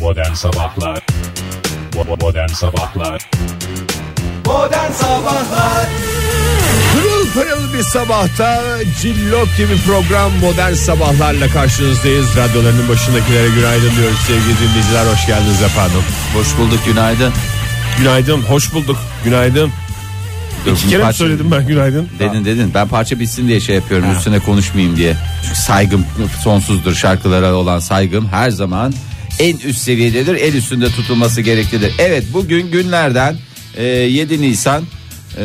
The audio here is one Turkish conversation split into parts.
Modern Sabahlar Bo- Modern Sabahlar Modern Sabahlar Pırıl pırıl bir sabahta cillop gibi program modern sabahlarla karşınızdayız. Radyolarının başındakilere günaydın diyoruz sevgili dinleyiciler. Hoş geldiniz efendim. Hoş bulduk günaydın Günaydın, hoş bulduk. Günaydın. İki kere mi Parça- söyledim ben günaydın? Dedin dedin ben parça bitsin diye şey yapıyorum üstüne konuşmayayım diye Çünkü saygım sonsuzdur şarkılara olan saygım her zaman en üst seviyededir en üstünde tutulması gereklidir Evet bugün günlerden e, 7 Nisan e,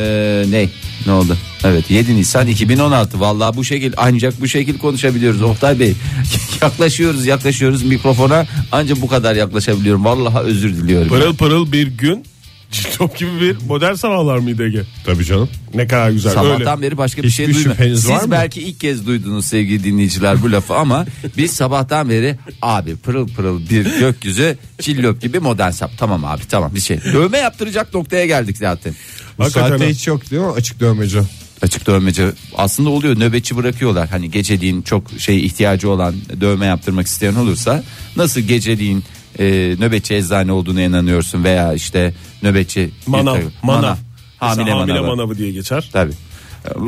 ne ne oldu Evet 7 Nisan 2016 vallahi bu şekil ancak bu şekil konuşabiliyoruz Oktay Bey yaklaşıyoruz yaklaşıyoruz mikrofona ancak bu kadar yaklaşabiliyorum vallahi özür diliyorum Pırıl pırıl bir gün Cillop gibi bir modern sabahlar mıydı Ege? Tabii canım. Ne kadar güzel öyle. öyle. Sabahtan Öyle. Sabahtan beri. beri beri başka bir Hiçbir şey duymuyorum. şüpheniz Siz var mı? belki ilk kez duydunuz sevgili dinleyiciler bu lafı ama biz sabahtan beri abi pırıl pırıl bir gökyüzü çillop gibi modern sap. Tamam abi tamam bir şey. Dövme yaptıracak noktaya geldik zaten. Bu Hakikaten saatte ha. hiç yok değil mi açık dövmeci? Açık dövmeci aslında oluyor nöbetçi bırakıyorlar. Hani geceliğin çok şey ihtiyacı olan dövme yaptırmak isteyen olursa nasıl geceliğin e, nöbetçi eczane olduğuna inanıyorsun veya işte nöbetçi Manav. Manav. Manav. Hamile, Mesela hamile manavı. manavı diye geçer. Tabii.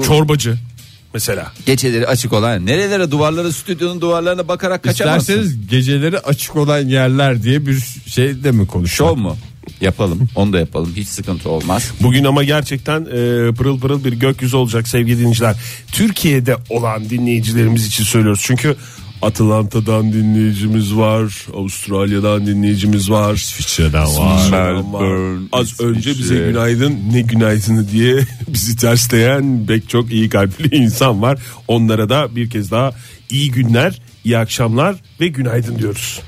Çorbacı mesela. geceleri açık olan nerelere duvarlara stüdyonun duvarlarına bakarak kaçamazsın. İsterseniz geceleri açık olan yerler diye bir şey de mi konuşalım? Şov mu? Yapalım. Onu da yapalım. Hiç sıkıntı olmaz. Bugün ama gerçekten e, pırıl pırıl bir gökyüzü olacak sevgili dinleyiciler. Türkiye'de olan dinleyicilerimiz için söylüyoruz. Çünkü Atlanta'dan dinleyicimiz var, Avustralya'dan dinleyicimiz var, İsviçre'den var. İsviçre'den var. Melbourne, Az önce bize İsviçre. günaydın ne günaydını diye bizi tersleyen pek çok iyi kalpli insan var. Onlara da bir kez daha iyi günler, iyi akşamlar ve günaydın diyoruz.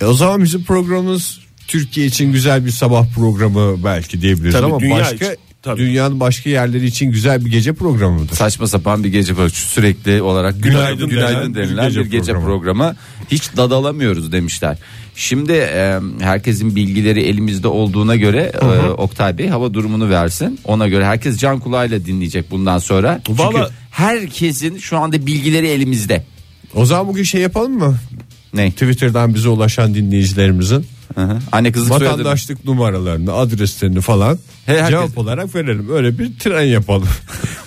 E o zaman bizim programımız Türkiye için güzel bir sabah programı belki diyebiliriz Tabii, ama dünya başka için, tabii. dünyanın başka yerleri için güzel bir gece programı mıdır? Saçma sapan bir gece programı. Sürekli olarak Günaydın günaydın günaydın denen denilen bir gece, programı. Hiç dadalamıyoruz demişler. Şimdi e, herkesin bilgileri elimizde olduğuna göre e, Oktay Bey hava durumunu versin. Ona göre herkes can kulağıyla dinleyecek bundan sonra. Çünkü Vallahi- herkesin şu anda bilgileri elimizde. O zaman bugün şey yapalım mı? Ne? Twitter'dan bize ulaşan dinleyicilerimizin Hı hı. Anne kızı soyadı. vatandaşlık numaralarını, adreslerini falan He, herkes- cevap olarak verelim. Öyle bir tren yapalım.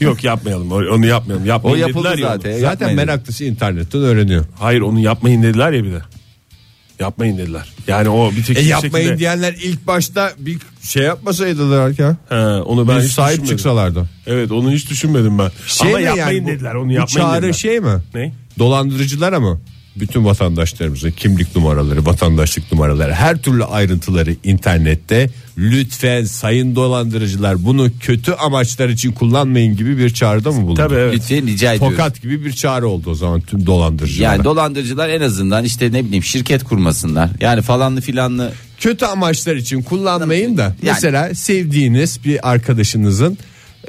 Yok yapmayalım onu yapmayalım. O Yapmayın yapıldı dediler ya onu. zaten. Zaten Yapmayın. meraklısı internetten öğreniyor. Hayır onu yapmayın dediler ya bir de. Yapmayın dediler. Yani o bir tek E bir yapmayın şekilde- diyenler ilk başta bir şey yapmasaydılar ya. He, onu ben Bir hiç sahip düşünmedim. çıksalardı. Şey Evet onu hiç düşünmedim ben. Ama mi yani yapmayın bu- dediler bu onu yapmayın çağrı dediler. şey mi? Ne? Dolandırıcılara mı? Bütün vatandaşlarımızın kimlik numaraları, vatandaşlık numaraları, her türlü ayrıntıları internette. Lütfen sayın dolandırıcılar bunu kötü amaçlar için kullanmayın gibi bir çağrıda mı bulundu? Tabii evet. Lütfen rica ediyorum. Tokat gibi bir çağrı oldu o zaman tüm dolandırıcılara. Yani dolandırıcılar en azından işte ne bileyim şirket kurmasınlar. Yani falanlı filanlı kötü amaçlar için kullanmayın da mesela mesela sevdiğiniz bir arkadaşınızın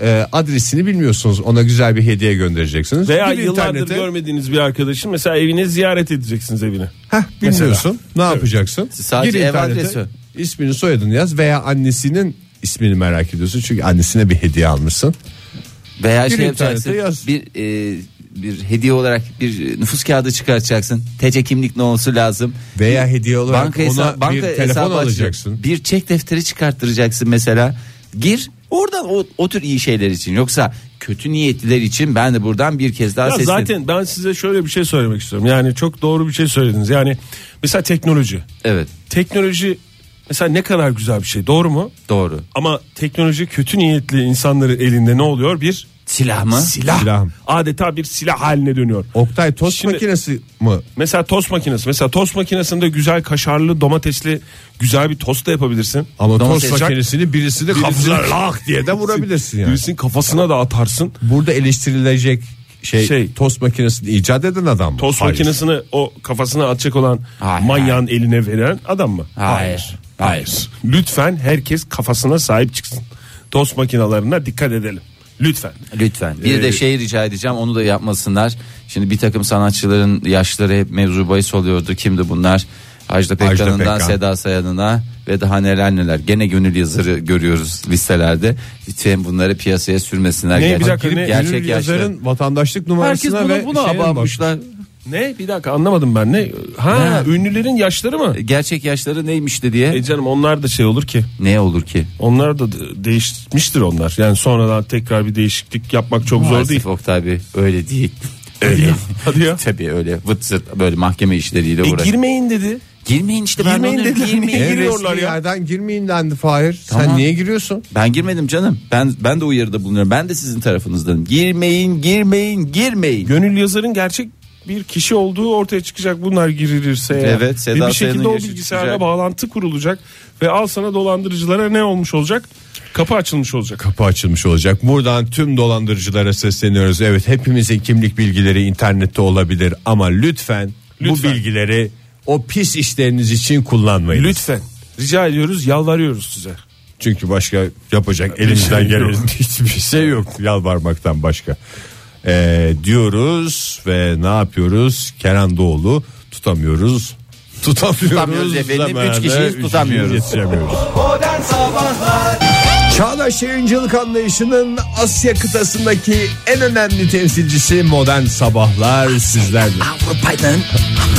e, adresini bilmiyorsunuz ona güzel bir hediye göndereceksiniz. Veya yıllardır görmediğiniz bir arkadaşın mesela evine ziyaret edeceksiniz evini. bilmiyorsun ne yapacaksın? Sadece ev internete, adresi. ismini soyadını yaz veya annesinin ismini merak ediyorsun çünkü annesine bir hediye almışsın. veya Bir şey internete yapacaksın. yaz. Bir e, bir hediye olarak bir nüfus kağıdı çıkartacaksın. TC kimlik ne olması lazım. Veya hediye olarak banka ona hesa- banka bir telefon hesabı aç- alacaksın. Bir çek defteri çıkarttıracaksın mesela. Gir oradan o, o tür iyi şeyler için yoksa kötü niyetliler için ben de buradan bir kez daha Ya sesleniyorum. zaten ben size şöyle bir şey söylemek istiyorum. Yani çok doğru bir şey söylediniz. Yani mesela teknoloji. Evet Teknoloji mesela ne kadar güzel bir şey doğru mu? doğru. Ama teknoloji kötü niyetli insanların elinde ne oluyor? Bir Silah mı? silah. Silah. Adeta bir silah haline dönüyor. Oktay tost Şimdi- makinesi mi? Mesela tost makinesi. Mesela tost makinesinde güzel kaşarlı domatesli güzel bir tost da yapabilirsin. Ama Domates- tost makinesini birisi de kafasına lak diye de vurabilirsin yani. Birisinin kafasına da atarsın. Burada eleştirilecek şey, Şey- tost makinesini icat eden adam mı? Tost Hayır. makinesini o kafasına atacak olan Hayır, manyağın eline veren adam mı? Hayır. Hayır. Lütfen herkes kafasına sahip çıksın. Tost makinalarına dikkat edelim. Lütfen. Lütfen. Bir de şey rica edeceğim onu da yapmasınlar. Şimdi bir takım sanatçıların yaşları hep mevzu bahis oluyordu. Kimdi bunlar? Ajda Pekkan'ından Pekkan. Seda Sayan'ına ve daha neler neler. Gene gönül yazarı görüyoruz listelerde. Lütfen bunları piyasaya sürmesinler. Ne, bir Gerçek- dakika, ne? şey gerçek Gönül yaşlı. yazarın vatandaşlık Herkes numarasına buna, ve buna şeye bak. abanmışlar. Ne? Bir dakika anlamadım ben ne? Ha, Ha. ünlülerin yaşları mı? Gerçek yaşları neymişti diye. E canım onlar da şey olur ki. ne olur ki? Onlar da d- değişmiştir onlar. Yani sonradan tekrar bir değişiklik yapmak çok zor değil. Maalesef Oktay Bey öyle değil. Öyle. Hadi ya. Tabii öyle vıt zıt böyle mahkeme işleriyle E uğraş. girmeyin dedi. girmeyin işte ben Girmeyin onu- dediler. girmeyin. Niye En giriyorlar resmi ya? yerden girmeyin dendi Fahir. Tamam. Sen niye giriyorsun? Ben girmedim canım. Ben ben de uyarıda bulunuyorum. Ben de sizin tarafınızdanım. Girmeyin, girmeyin, girmeyin. Gönül yazarın gerçek bir kişi olduğu ortaya çıkacak bunlar girilirse. eğer. Evet, Seda Ve bir şekilde Sayan'ın o yaşı bilgisayarla çıkacak. bağlantı kurulacak ve al sana dolandırıcılara ne olmuş olacak? Kapı açılmış olacak. Kapı açılmış olacak. Buradan tüm dolandırıcılara sesleniyoruz. Evet hepimizin kimlik bilgileri internette olabilir ama lütfen, bu Lütfen. bilgileri o pis işleriniz için kullanmayın. Lütfen rica ediyoruz yalvarıyoruz size. Çünkü başka yapacak elimizden şey gelen yok. hiçbir şey yok yalvarmaktan başka. Ee, diyoruz ve ne yapıyoruz? Kenan Doğulu tutamıyoruz. Tutamıyoruz. Tutamıyoruz efendim. Zamanında Üç kişiyiz, üçüncü tutamıyoruz. yetişemiyoruz. Çağdaş yayıncılık anlayışının Asya kıtasındaki en önemli temsilcisi modern sabahlar sizlerle. Avrupa'nın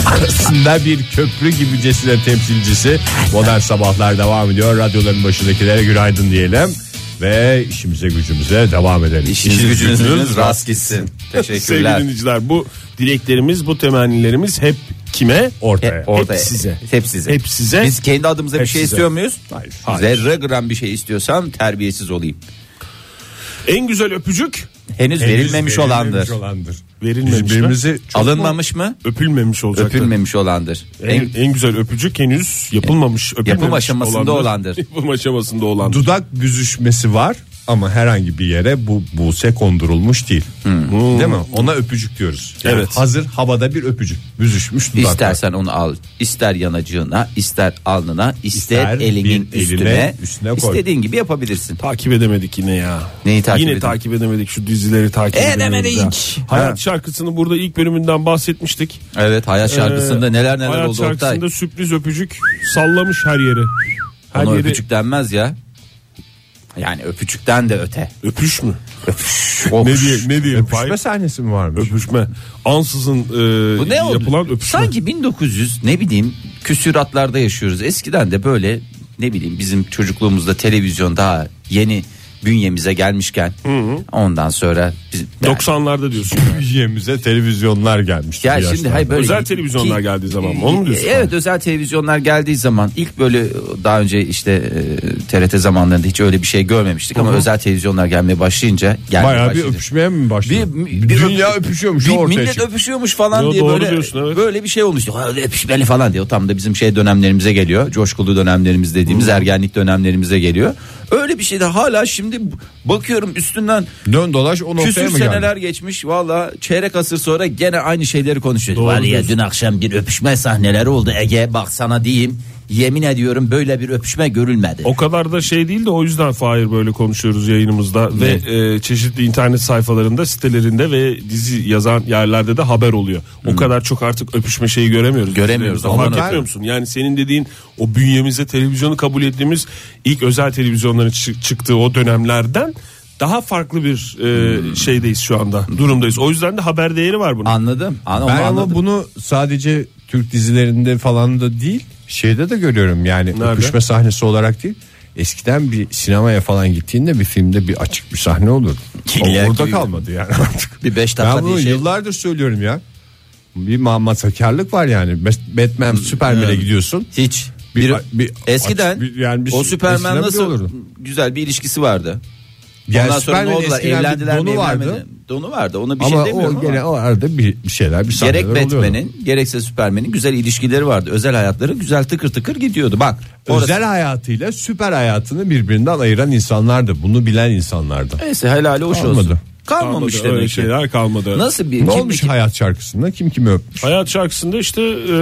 Aslında bir köprü gibicesine temsilcisi modern sabahlar devam ediyor. Radyoların başındakilere günaydın diyelim ve işimize gücümüze devam edelim. işiniz İşiniz gücünüz rast gitsin. Sevgili Teşekkürler. dinleyiciler bu dileklerimiz bu temennilerimiz hep kime? ortaya. Hep orada. Hep size. Hep size. Hep size. Biz kendi adımıza bir Hep şey size. istiyor muyuz? Hayır. Zerre gram bir şey istiyorsam terbiyesiz olayım. En güzel öpücük Henüz verilmemiş olandır. verilmemiş mi? Birbirimizi çok Alınmamış mı? Öpülmemiş olacak. Öpülmemiş olandır. En- En, en güzel öpücük henüz yapılmamış öpülmemiş Yapım aşamasında olandır. olandır. Yapım aşamasında olandır. dudak büzüşmesi var ama herhangi bir yere bu buse kondurulmuş değil. Hmm. Değil mi? Ona öpücük diyoruz. Yani Evet. Hazır havada bir öpücük. Büzüşmüş dudaklar. İstersen onu al. İster yanacığına, ister alnına, ister, İster elinin bir eline, üstüne, üstüne koy. istediğin gibi yapabilirsin. Takip edemedik yine ya. Neyi takip Yine edemedik? E, takip edemedik şu dizileri takip edemedik. Edemedik. ya. Hayat Ha. şarkısını burada ilk bölümünden bahsetmiştik. Evet, hayat şarkısında Ee, neler neler hayat oldu Oktay. şarkısında sürpriz öpücük sallamış her yeri. Her Ona yeri öpücük denmez ya. Yani öpücükten de öte. öpüş mü? Oh. Ne diye ne diye Öpüşme sahnesi mi varmış? öpüşme. Ansızın e, Bu ne oldu? yapılan öpüşme. Sanki 1900 ne bileyim küsüratlarda yaşıyoruz. Eskiden de böyle ne bileyim bizim çocukluğumuzda televizyon daha yeni bünyemize gelmişken ondan sonra biz, yani- 90'larda diyorsun. Bünyemize televizyonlar gelmiş. Ya bu şimdi yaşlarda. şey hayır böyle Özel televizyonlar geldiği zaman mı? Onu mu diyorsun? Ee, Evet özel televizyonlar geldiği zaman ilk böyle daha önce işte e, TRT zamanlarında hiç öyle bir şey görmemiştik ama özel televizyonlar gelmeye başlayınca gelmeye Bayağı bir başladı. öpüşmeye mi başladı? Bir- bir- Dünya öpüşüyormuş Bir ortaya millet çıktı. öpüşüyormuş falan Yo, diye doğru böyle diyorsun, evet. böyle bir şey olmuştu. Ha, öyle öpüşmeli falan diyor. Tam da bizim şey dönemlerimize geliyor. Coşkulu dönemlerimiz dediğimiz ergenlik dönemlerimize geliyor. Öyle bir şey de hala şimdi bakıyorum üstünden Dön dolaş o noktaya Küsür mı geldi? seneler geçmiş valla çeyrek asır sonra gene aynı şeyleri konuşuyoruz. Var ya dün akşam bir öpüşme sahneleri oldu Ege bak sana diyeyim yemin ediyorum böyle bir öpüşme görülmedi. O kadar da şey değil de o yüzden Fahir böyle konuşuyoruz yayınımızda ve e, çeşitli internet sayfalarında, sitelerinde ve dizi yazan yerlerde de haber oluyor. O kadar çok artık öpüşme şeyi göremiyoruz. Hmm. Göremiyoruz, Ama aman Fark etmiyor öpüyorum. musun? Yani senin dediğin o bünyemize televizyonu kabul ettiğimiz ilk özel televizyonların çı- çıktığı o dönemlerden daha farklı bir e, Hmm. şeydeyiz şu anda. Durumdayız. O yüzden de haber değeri var bunun. Anladım. An- onu Ben ama anladım. bunu sadece Türk dizilerinde falan da değil şeyde de görüyorum yani öpüşme sahnesi olarak değil. Eskiden bir sinemaya falan gittiğinde bir filmde bir açık bir sahne olurdu. İlla O Orada ki- kalmadı yani artık. Bir beş dakika Ben bunu bir şey- yıllardır söylüyorum ya. Bir muhafazakarlık var yani. Mes- Hmm, Batman, Superman'e gidiyorsun. Hiç. Bir- Bir, bir- eskiden aç- bir- yani bir- şey- o eskiden bir Süpermen nasıl olurdu. güzel bir ilişkisi vardı. Yani Ondan sonra ne Superman'in oldular? eskiden bir Evlendiler mi? donu vardı. Vardı. Donu vardı. Ona bir ama şey demiyorum o ama. gene o arada bir, bir şeyler bir sahneler Gerek oluyordu. Batman'in gerekse Süpermen'in güzel ilişkileri vardı. Özel hayatları güzel tıkır tıkır gidiyordu. Bak. orası- Özel hayatıyla süper hayatını birbirinden ayıran insanlardı. Bunu bilen insanlardı. Neyse helali hoş Kalmadı. olsun. Kalmamış Kalmadı, öyle demek ki. şeyler kalmadı. Nasıl bir şey? Ne kim- olmuş kim- hayat şarkısında? Kim kimi öpmüş? Hayat şarkısında işte e,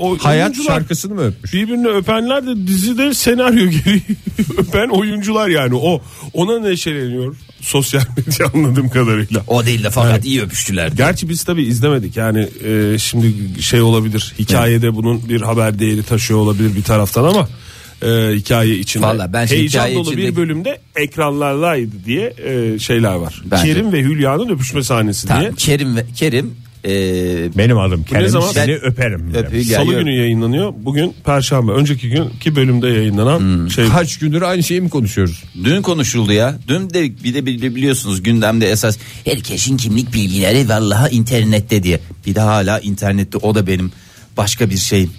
o Hayat oyuncular- şarkısını mı öpmüş? Birbirini öpenler de dizide senaryo gereği öpen oyuncular yani o ona neşeleniyor sosyal medya anladığım kadarıyla. O değil de fakat iyi öpüştüler. Gerçi biz tabi izlemedik yani e, şimdi şey olabilir hikayede bunun bir haber değeri taşıyor olabilir bir taraftan ama e, hikaye içinde Valla ben şimdi heyecan hikaye dolu bir içinde- bölümde ekranlardaydı diye e, şeyler var. Bence- Kerim ve Hülya'nın öpüşme sahnesi Tamam, diye. Kerim ve Kerim e, Benim adım ne Kerim zaman? seni Ben- öperim. derim. öpüyü Salı geliyor. günü yayınlanıyor. Bugün Perşembe. Önceki günkü bölümde yayınlanan Hmm. şey. Kaç gündür aynı şeyi mi konuşuyoruz? Dün konuşuldu ya. Dün de bir de bili- biliyorsunuz gündemde esas herkesin kimlik bilgileri vallahi internette diye. Bir de hala internette o da benim başka bir şeyim.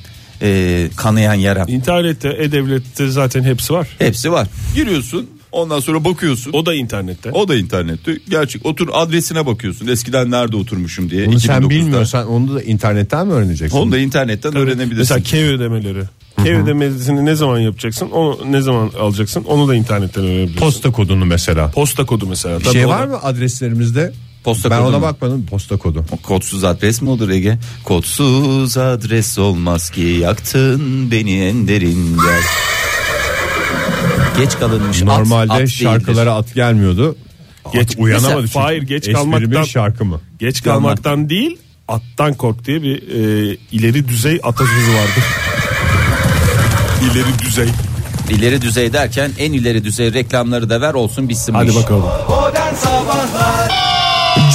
E, kanayan yaram. İnternette, e-devlette zaten hepsi var. Hepsi var. Giriyorsun ondan sonra bakıyorsun. O da internette. O da internette. Gerçek otur adresine bakıyorsun. Eskiden nerede oturmuşum diye. Bunu sen 2009'da. bilmiyorsan onu da internetten mi öğreneceksin? Onu da internetten öğrenebilirsin. Mesela K ödemeleri. K ödemesini ne zaman yapacaksın? Onu ne zaman alacaksın? Onu da internetten öğrenebilirsin. Posta kodunu mesela. Posta kodu mesela. Bir şey var mı adreslerimizde? Posta ben kodu ona mu? bakmadım posta kodu. Kodsuz adres mi olur Ege? Kodsuz adres olmaz ki yaktın beni en derinden. Geç kalınmış. at- Normalde at değildir. şarkılara at gelmiyordu. Geç- at uyanamadı Mesela- çünkü. Hayır, geç Espri mi, kalmaktan- şarkı mı? Geç kalmaktan değil attan kork diye bir e, ileri düzey atasözü vardı. ileri düzey. İleri düzey derken en ileri düzey reklamları da ver olsun bitsin bu Hadi iş. bakalım.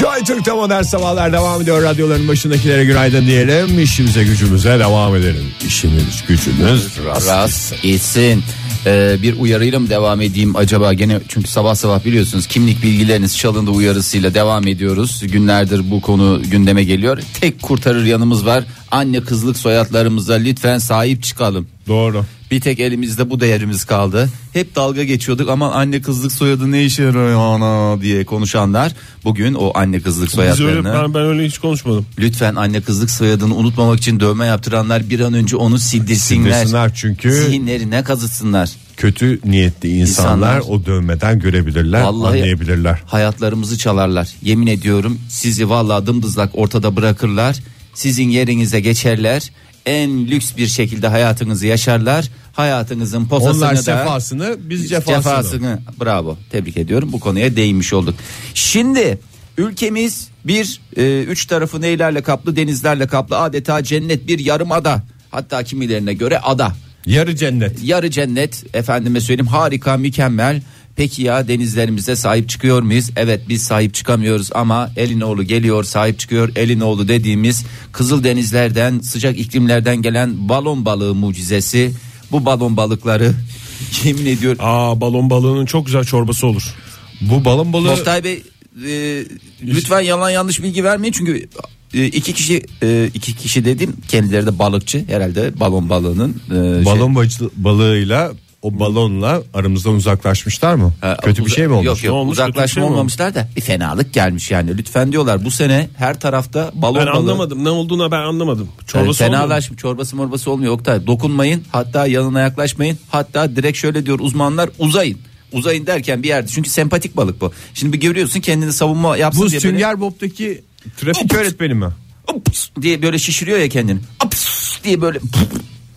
Joy Türk'te modern sabahlar devam ediyor. Radyoların başındakilere günaydın diyelim. İşimize gücümüze devam edelim. İşimiz gücümüz rast. Rast gitsin. Ee, bir uyarıyla mı devam edeyim acaba gene çünkü sabah sabah biliyorsunuz kimlik bilgileriniz çalındı uyarısıyla devam ediyoruz. Günlerdir bu konu gündeme geliyor. Tek kurtarır yanımız var. Anne kızlık soyadlarımıza lütfen sahip çıkalım. Doğru. Bir tek elimizde bu değerimiz kaldı. Hep dalga geçiyorduk ama anne kızlık soyadı ne işe yarıyor ana diye konuşanlar bugün o anne kızlık Biz öyle, soyadlarını ben, ben öyle hiç konuşmadım. lütfen anne kızlık soyadını unutmamak için dövme yaptıranlar bir an önce onu sildirsinler. Sildirsinler çünkü- Zihinlerine kazıtsınlar. Kötü niyetli insanlar, İnsanlar. o dövmeden görebilirler, Vallahi anlayabilirler. Hayatlarımızı çalarlar. Yemin ediyorum sizi vallahi dımdızlak ortada bırakırlar. Sizin yerinize geçerler. En lüks bir şekilde hayatınızı yaşarlar. Hayatınızın posasını Onlar da sefasını, biz cefasını. Bravo. Tebrik ediyorum. Bu konuya değinmiş olduk. Şimdi ülkemiz bir e, üç tarafı neylerle kaplı denizlerle kaplı adeta cennet bir yarım ada. Hatta kimilerine göre ada Yarı cennet. yarı cennet efendime söyleyeyim harika mükemmel. Peki ya denizlerimize sahip çıkıyor muyuz? Evet biz sahip çıkamıyoruz ama Elinoğlu geliyor sahip çıkıyor. Elinoğlu dediğimiz kızıl denizlerden sıcak iklimlerden gelen balon balığı mucizesi. Bu balon balıkları yemin ediyorum. Aa balon balığının çok güzel çorbası olur. Bu balon balığı Oktay Bey e, lütfen yalan yanlış bilgi vermeyin çünkü e, iki kişi e, iki kişi dedim kendileri de balıkçı herhalde balon balığının e, şey- balon bacı- balığıyla o balonla aramızdan uzaklaşmışlar mı? Ha, Kötü bir uza- şey mi olmuş? e, Yok Ne yok olmuş, kötü bir uzaklaşma şey mi olmamışlar da bir fenalık gelmiş yani. Lütfen diyorlar bu sene her tarafta balon Ben balığı- anlamadım ne olduğuna ben anlamadım. Yani Çorbası olmuyor mu? fenalaşma çorbası morbası olmuyor Oktay. Dokunmayın hatta yanına yaklaşmayın. Hatta direkt şöyle diyor uzmanlar uzayın. Uzayın derken bir yerde çünkü sempatik balık bu. Şimdi bir görüyorsun kendini savunma yapsın Bu diye böyle- Sünger Bob'taki trafik öğretmeni mi? Ups diye böyle şişiriyor ya kendini. Ups diye böyle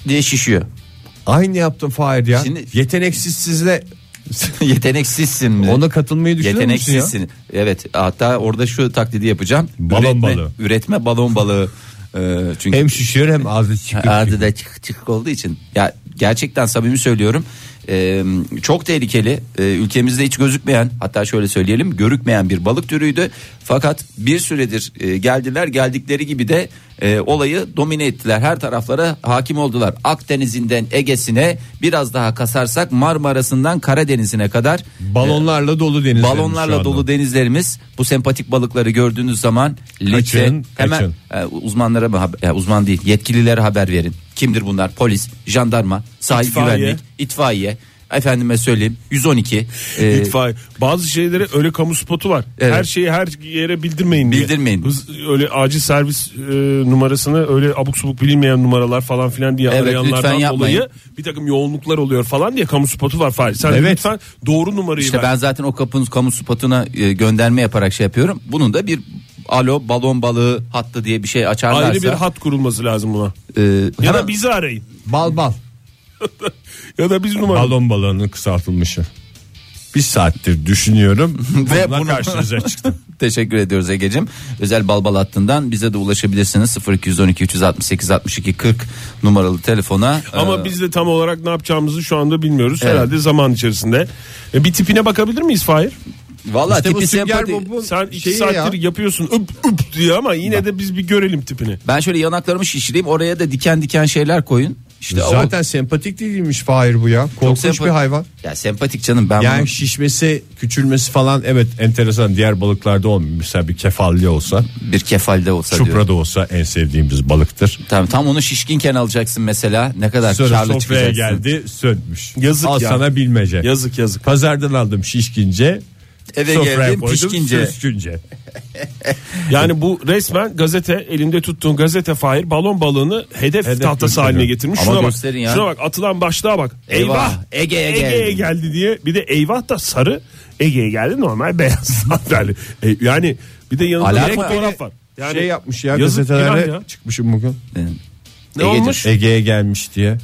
diye şişiyor. Aynı yaptım Fahir ya. Şimdi- Yeteneksizsizle Yeteneksizsin mi? ona katılmayı düşünüyor musun ya? Yeteneksizsin. Evet hatta orada şu taklidi yapacağım. Balon üretme, balığı. Üretme balon balığı. Ee, çünkü Hem şişiyor hem ağzı çıkıyor. adı da çıkık çıkık olduğu için. Ya gerçekten samimi söylüyorum. Ee, çok tehlikeli. Ee, ülkemizde hiç gözükmeyen hatta şöyle söyleyelim görükmeyen bir balık türüydü. Fakat bir süredir e, geldiler geldikleri gibi de e, olayı domine ettiler. Her taraflara hakim oldular. Akdeniz'inden Ege'sine biraz daha kasarsak Marmara'sından Karadeniz'ine kadar e, Balonlarla dolu deniz. Balonlarla dolu denizlerimiz bu sempatik balıkları gördüğünüz zaman lütfen Kaçın, hemen kaçın. e, uzmanlara mı haber- ya uzman değil yetkililere haber verin. Kimdir bunlar? Polis, jandarma, sahil İtfaiye. güvenlik, itfaiye. Efendime söyleyeyim 112 e, İtfaiye. Bazı şeylere öyle kamu spotu var. Evet. Her şeyi her yere bildirmeyin diye. Bildirmeyin. Hız- öyle acil servis e, numarasını öyle abuk subuk bilinmeyen numaralar falan filan diye Evet, lütfen arayanlardan yapmayın. dolayı bir takım yoğunluklar oluyor falan diye kamu spotu var Fahri. Sen de Evet. lütfen doğru numarayı işte ver. ben zaten o kapının kamu spotuna e, gönderme yaparak şey yapıyorum. Bunun da bir alo balon balığı hattı diye bir şey açarlarsa Ayrı bir hat kurulması lazım buna. e, Ya hemen- da bizi arayın. Bal bal. Ya da biz numara. Balon balığının kısaltılmışı. Bir saattir düşünüyorum. Ve Bununla bunu- karşınıza çıktım. Teşekkür ediyoruz Ege'cim. Özel balbal hattından bize de ulaşabilirsiniz. 0212 368 62 40 numaralı telefona. Ama Ee, biz de tam olarak ne yapacağımızı şu anda bilmiyoruz. Evet. Herhalde zaman içerisinde. E, bir tipine bakabilir miyiz Fahir? Valla İşte bu tipi sünger sempati. bobun Sen iki şeyi saattir yapıyorsun üp üp diye ama yine de biz bir görelim tipini. Ben şöyle yanaklarımı şişireyim oraya da diken diken şeyler koyun. İşte o- Zaten sempatik değilmiş Fahir bu ya. Korkunç sempa- bir hayvan. Ya sempatik canım ben bunu- Yani şişmesi, küçülmesi falan evet enteresan. Diğer balıklarda olmuyor. Mesela bir kefalli olsa, bir kefalde olsa diyorum. çupra da olsa en sevdiğimiz balıktır. Tamam tam onu şişkinken alacaksın mesela. Ne kadar Sonra karlı sofraya çıkacaksın. geldi, sönmüş. Yazık Al ya. sana bilmece. Yazık yazık. Pazardan aldım şişkince. Eve sofraya geldim koydum, pişkince. söskünce. Yani bu resmen gazete elinde tuttuğun gazete fahir balon balığını hedef, tahtası gösteriyor. haline getirmiş. Ama şuna bak. gösterin ya. Şuna bak atılan başlığa bak. Eyvah, Eyvah. Ege'ye geldi. geldi diye. Bir de eyvah da sarı Ege'ye geldi normal beyaz yani. e, yani bir de yanında Alak bir mı? fotoğraf var. Yani şey yapmış ya yazık, gazetelere günah ya. çıkmışım bugün. Ne Ee, Ege'cim, olmuş? Ege'ye gelmiş diye.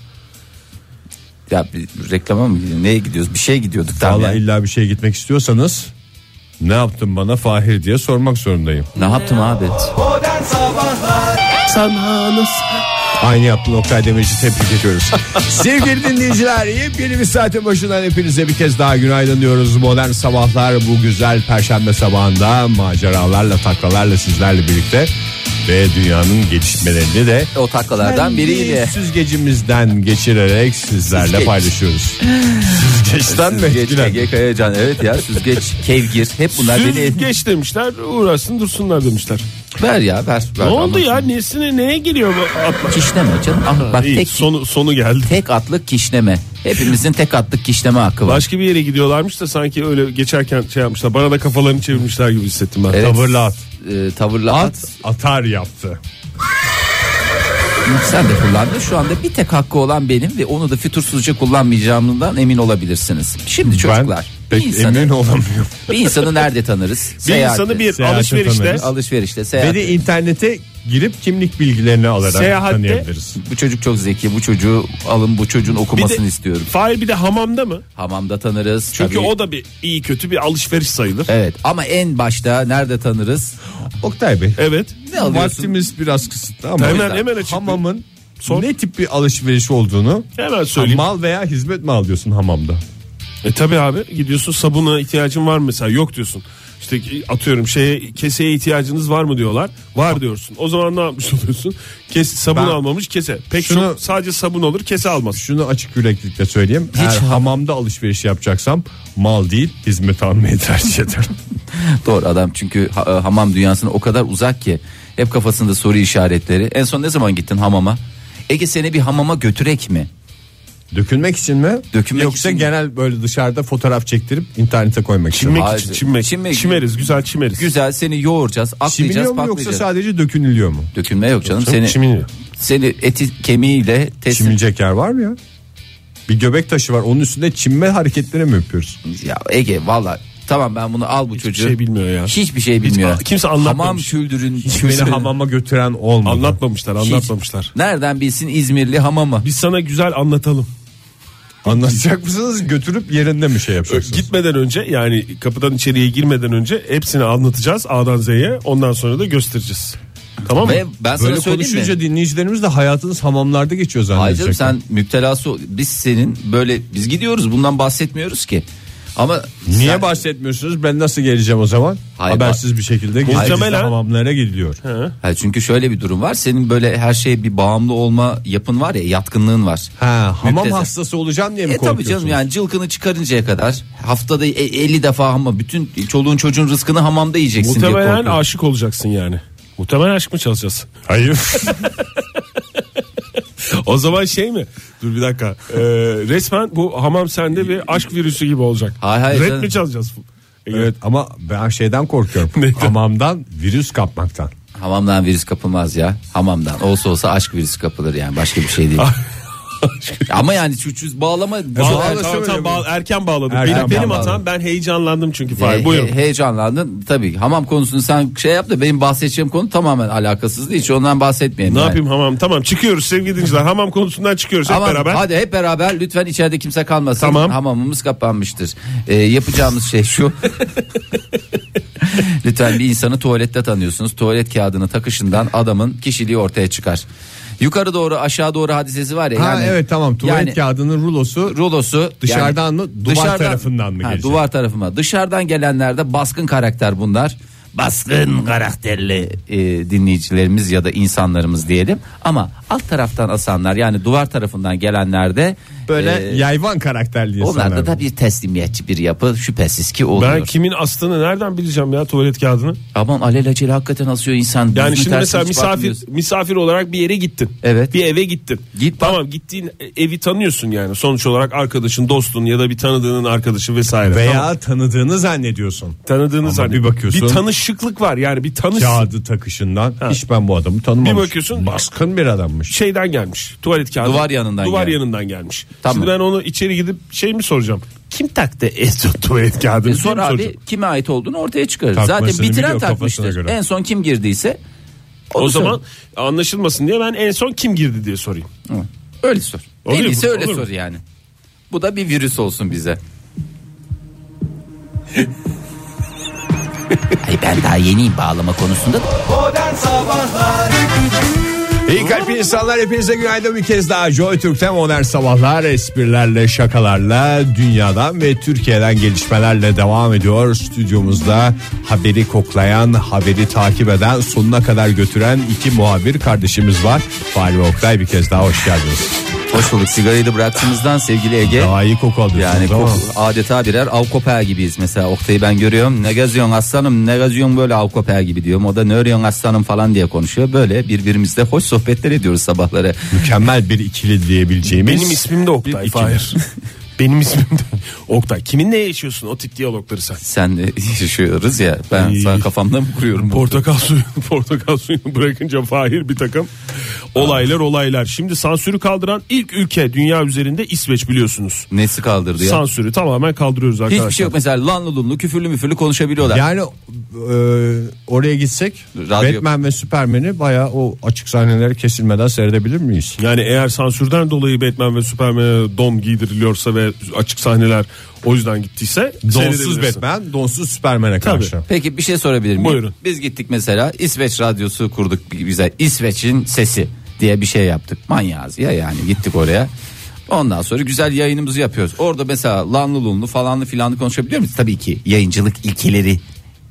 Ya bir reklama mı gidiyor? Neye gidiyoruz? Bir şey gidiyorduk tamam. Valla ya. illa bir şeye gitmek istiyorsanız ne yaptın bana Fahir diye sormak zorundayım. Ne yaptım abi? Aynı yaptın Oktay Demirci tebrik ediyoruz. Sevgili dinleyiciler yepyeni bir saatin başından hepinize bir kez daha günaydın diyoruz. Modern sabahlar bu güzel perşembe sabahında maceralarla taklalarla sizlerle birlikte ve dünyanın gelişmelerini de O taklalardan biriyle. kendi süzgecimizden geçirerek sizlerle Süzgeç. paylaşıyoruz. Süzgeçten mi? Süzgeç, etkilen? Ege Kayacan. Evet ya süzgeç, kevgir. Hep bunlar beni... Süz geç demişler uğraşsın dursunlar demişler. Ver ya ver. ver Ne oldu Ama- ya nesine neye geliyor bu atlar? Kişneme canım. Ah, bak İyi, tek, sonu, sonu geldi. tek atlık kişneme. Hepimizin tek atlık kişneme hakkı var. Başka bir yere gidiyorlarmış da sanki öyle geçerken şey yapmışlar. Bana da kafalarını çevirmişler gibi hissettim ben. Evet. Tavırlı at. Ee, tavırlı at. Atar yaptı. Sen de kullandın. Şu anda bir tek hakkı olan benim ve onu da fütursuzca kullanmayacağımdan emin olabilirsiniz. Şimdi çocuklar. ben bir pek insanı, emin olamıyorum. bir insanı nerede tanırız? Bir Seyahatte. insanı bir Seyahate alışverişte tanırız. alışverişte Ve seyahat. de internete girip kimlik bilgilerini alarak Seyahatte- tanıyabiliriz. Bu çocuk çok zeki. Bu çocuğu alın bu çocuğun bir okumasını de, istiyorum. Fahir bir de hamamda mı? Hamamda tanırız. Çünkü tabii. o da bir iyi kötü bir alışveriş sayılır. Evet ama en başta nerede tanırız? Oktay Bey. Evet. Ne alıyorsun? Vaktimiz biraz kısıtlı ama Hemen hemen açık. hamamın Sor. ne tip bir alışveriş olduğunu Hemen söyleyeyim. mal veya hizmet mi alıyorsun hamamda? E tabi abi gidiyorsun sabuna ihtiyacın var mı mesela yok diyorsun. İşte atıyorum şeye keseye ihtiyacınız var mı diyorlar. Var diyorsun. O zaman ne yapmış oluyorsun? Kes sabun Ben- almamış kese. Pek Şunu- çok sadece sabun olur kese almaz. Şunu açık yüreklilikle söyleyeyim. Hiç Eğer ha- hamamda alışveriş yapacaksam mal değil hizmet almayı tercih ederim. Doğru adam çünkü ha- e, hamam dünyasına o kadar uzak ki hep kafasında soru işaretleri. En son ne zaman gittin hamama? Ege seni bir hamama götürek mi? Dökülmek için mi? Dökülmek Yoksa için mi? genel böyle dışarıda fotoğraf çektirip internete koymak için. mi? Çimmek Hayır. için çimmek. Çimmek- Çimeriz güzel çimeriz. Güzel seni yoğuracağız, aklayacağız, Çimiliyor mu yoksa patlayacağız. sadece dökünülüyor mu? Dökülme yok canım. Seni çimiliyor. seni eti kemiğiyle teslim Çimilecek yer var mı ya? Bir göbek taşı var onun üstünde çinme hareketleri mi yapıyoruz? Ya Ege valla tamam ben bunu al bu çocuğu. şey bilmiyor ya. Hiçbir şey bilmiyor. kimse Hamam anlatmamış. küldürün. Beni hamama götüren olmadı. Anlatmamışlar anlatmamışlar. Nereden bilsin İzmirli hamamı? Biz sana güzel anlatalım. Anlatacak mısınız götürüp yerinde mi şey yapacaksınız? Gitmeden önce yani kapıdan içeriye girmeden önce hepsini anlatacağız A'dan Z'ye. Ondan sonra da göstereceğiz. Tamam mı? Ve ben sana Böyle söyleyeyim mi? konuşunca dinleyicilerimiz de hayatınız hamamlarda geçiyor Hayır canım zannedecek. sen müptelası ol- biz senin böyle biz gidiyoruz bundan bahsetmiyoruz ki. Ama Niye sen- bahsetmiyorsunuz? Ben nasıl geleceğim o zaman? Hayır, Habersiz bir şekilde gizli Muhtemelen- hamamlara gidiliyor. Ha, çünkü şöyle bir durum var. Senin böyle her şeye bir bağımlı olma yapın var ya, yatkınlığın var. Ha, hamam Müptezel. hastası olacağım diye mi E tabii korkuyorsunuz? canım yani cılkını çıkarıncaya kadar haftada e- 50 defa ama bütün çoluğun çocuğun rızkını hamamda yiyeceksin diye Muhtemelen korkuyorum. aşık olacaksın yani. Muhtemelen aşık mı çalışacağız? Hayır. O zaman şey mi? Dur bir dakika. Ee, resmen bu hamam sende bir aşk virüsü gibi olacak. Hayır, hayır, Red canım. mi çalacağız? E, evet ama ben şeyden korkuyorum. Hamamdan virüs kapmaktan. Hamamdan virüs kapılmaz ya. Hamamdan olsa olsa aşk virüsü kapılır yani başka bir şey değil. ama yani şu, şu bağlama E, Bağla, bağlama- tamam, tamam, bağla- erken bağladım. Erken benim, benim bağladım. hatam ben heyecanlandım çünkü Fahir. He- Buyurun. he- heyecanlandın tabii. Hamam konusunu sen şey yap da benim bahsedeceğim konu tamamen alakasızdı. Hiç ondan bahsetmeyelim. ne yani. yapayım hamam? Tamam çıkıyoruz sevgili dinleyiciler. Hamam konusundan çıkıyoruz hep Hamam- beraber. Hadi hep beraber lütfen içeride kimse kalmasın. Tamam. Hamamımız kapanmıştır. Ee, yapacağımız şey şu. lütfen bir insanı tuvalette tanıyorsunuz. Tuvalet kağıdını takışından adamın kişiliği ortaya çıkar. Yukarı doğru aşağı doğru hadisesi var ya. Ha yani- evet tamam tuvalet yani kağıdının rulosu rulosu Dışarıdan yani- mı, duvar tarafından mı gelecek? Duvar tarafıma. Dışarıdan gelenlerde baskın karakter bunlar. Baskın karakterli e, dinleyicilerimiz ya da insanlarımız diyelim. Ama alt taraftan asanlar yani duvar tarafından gelenlerde böyle e, yayvan karakterli insanlar. onlarda da var. bir teslimiyetçi bir yapı şüphesiz ki oluyor. Ben kimin astığını nereden bileceğim ya tuvalet kağıdını? Aman alelacele hakikaten asıyor insan. Yani Düzgün şimdi tersine mesela hiç misafir bakmıyorsun. misafir olarak bir yere gittin. Evet. Bir eve gittin. Git bak. tamam gittiğin evi tanıyorsun yani. Sonuç olarak arkadaşın, dostun ya da bir tanıdığının arkadaşı vesaire. Veya Tamam. tanıdığını zannediyorsun. tanıdığını Ama zannediyor. bir bakıyorsun- Bir tanışıklık var yani bir tanış Kağıdı takışından hiç ben bu adamı tanımamışım. Bir bakıyorsun- Baskın bir adammış. şeyden gelmiş. Tuvalet kağıdı. Duvar yanından Duvar gelmiş. yanından gelmiş. Tamam. Şimdi ben onu içeri gidip şey mi soracağım? Kim taktı en son tuvalet kağıdını? E diye sor mi abi soracağım? kime ait olduğunu ortaya çıkarır. Takmasını Zaten bitiren biliyor kafasına takmıştır. göre. En son kim girdiyse O onu sor. zaman anlaşılmasın diye ben en son kim girdi diye sorayım. Hı. Öyle sor. Olur En mu? iyisi öyle Olur mu? sor yani. Bu da bir virüs olsun bize. Ay ben daha yeniyim bağlama konusunda. İyi kalp insanlar hepinize günaydın bir kez daha Joy Türk'ten modern sabahlar esprilerle şakalarla dünyadan ve Türkiye'den gelişmelerle devam ediyor. Stüdyomuzda haberi koklayan, haberi takip eden, sonuna kadar götüren iki muhabir kardeşimiz var. Fahri ve Oktay bir kez daha hoş geldiniz. Hoş bulduk sigarayı da bıraktığımızdan sevgili Ege. Daha iyi koku alıyorsunuz Yani ama. koku- adeta birer av köpeği gibiyiz mesela Oktay'ı ben görüyorum ne geziyorsun aslanım ne geziyorsun böyle av köpeği gibi diyorum o da ne örüyorsun aslanım falan diye konuşuyor böyle birbirimizle hoş sohbetler ediyoruz sabahları Mükemmel bir ikili diyebileceğimiz. Benim ismim de Oktay. Bir- Fahir. Benim ismim de Oktay. Kiminle yaşıyorsun o tip diyalogları sen? sen e, de yaşıyoruz ya ben sana kafamda mı kuruyorum bu? Portakal suyu, portakal suyunu bırakınca Fahir bir takım olaylar olaylar. Şimdi sansürü kaldıran ilk ülke dünya üzerinde İsveç biliyorsunuz. nesi kaldırdı ya Sansürü tamamen kaldırıyoruz arkadaşlar. Hiçbir şey yok mesela lanlı lunlu küfürlü müfürlü konuşabiliyorlar. Yani e, oraya gitsek Radyo- Batman ve Superman'i bayağı o açık sahneleri kesilmeden seyredebilir miyiz? Yani eğer sansürden dolayı Batman ve Superman'e don giydiriliyorsa ve açık sahneler o yüzden gittiyse Donsuz seyredebilirsin. Batman, donsuz Superman'e karşı. Peki bir şey sorabilir miyim? Buyurun. Biz gittik mesela İsveç radyosu kurduk bize İsveç'in sesi diye bir şey yaptık. Manyağız ya yani gittik oraya. Ondan sonra güzel yayınımızı yapıyoruz. Orada mesela lanlı lunlu falanlı filanlı konuşabiliyor muyuz? Tabii ki yayıncılık ilkeleri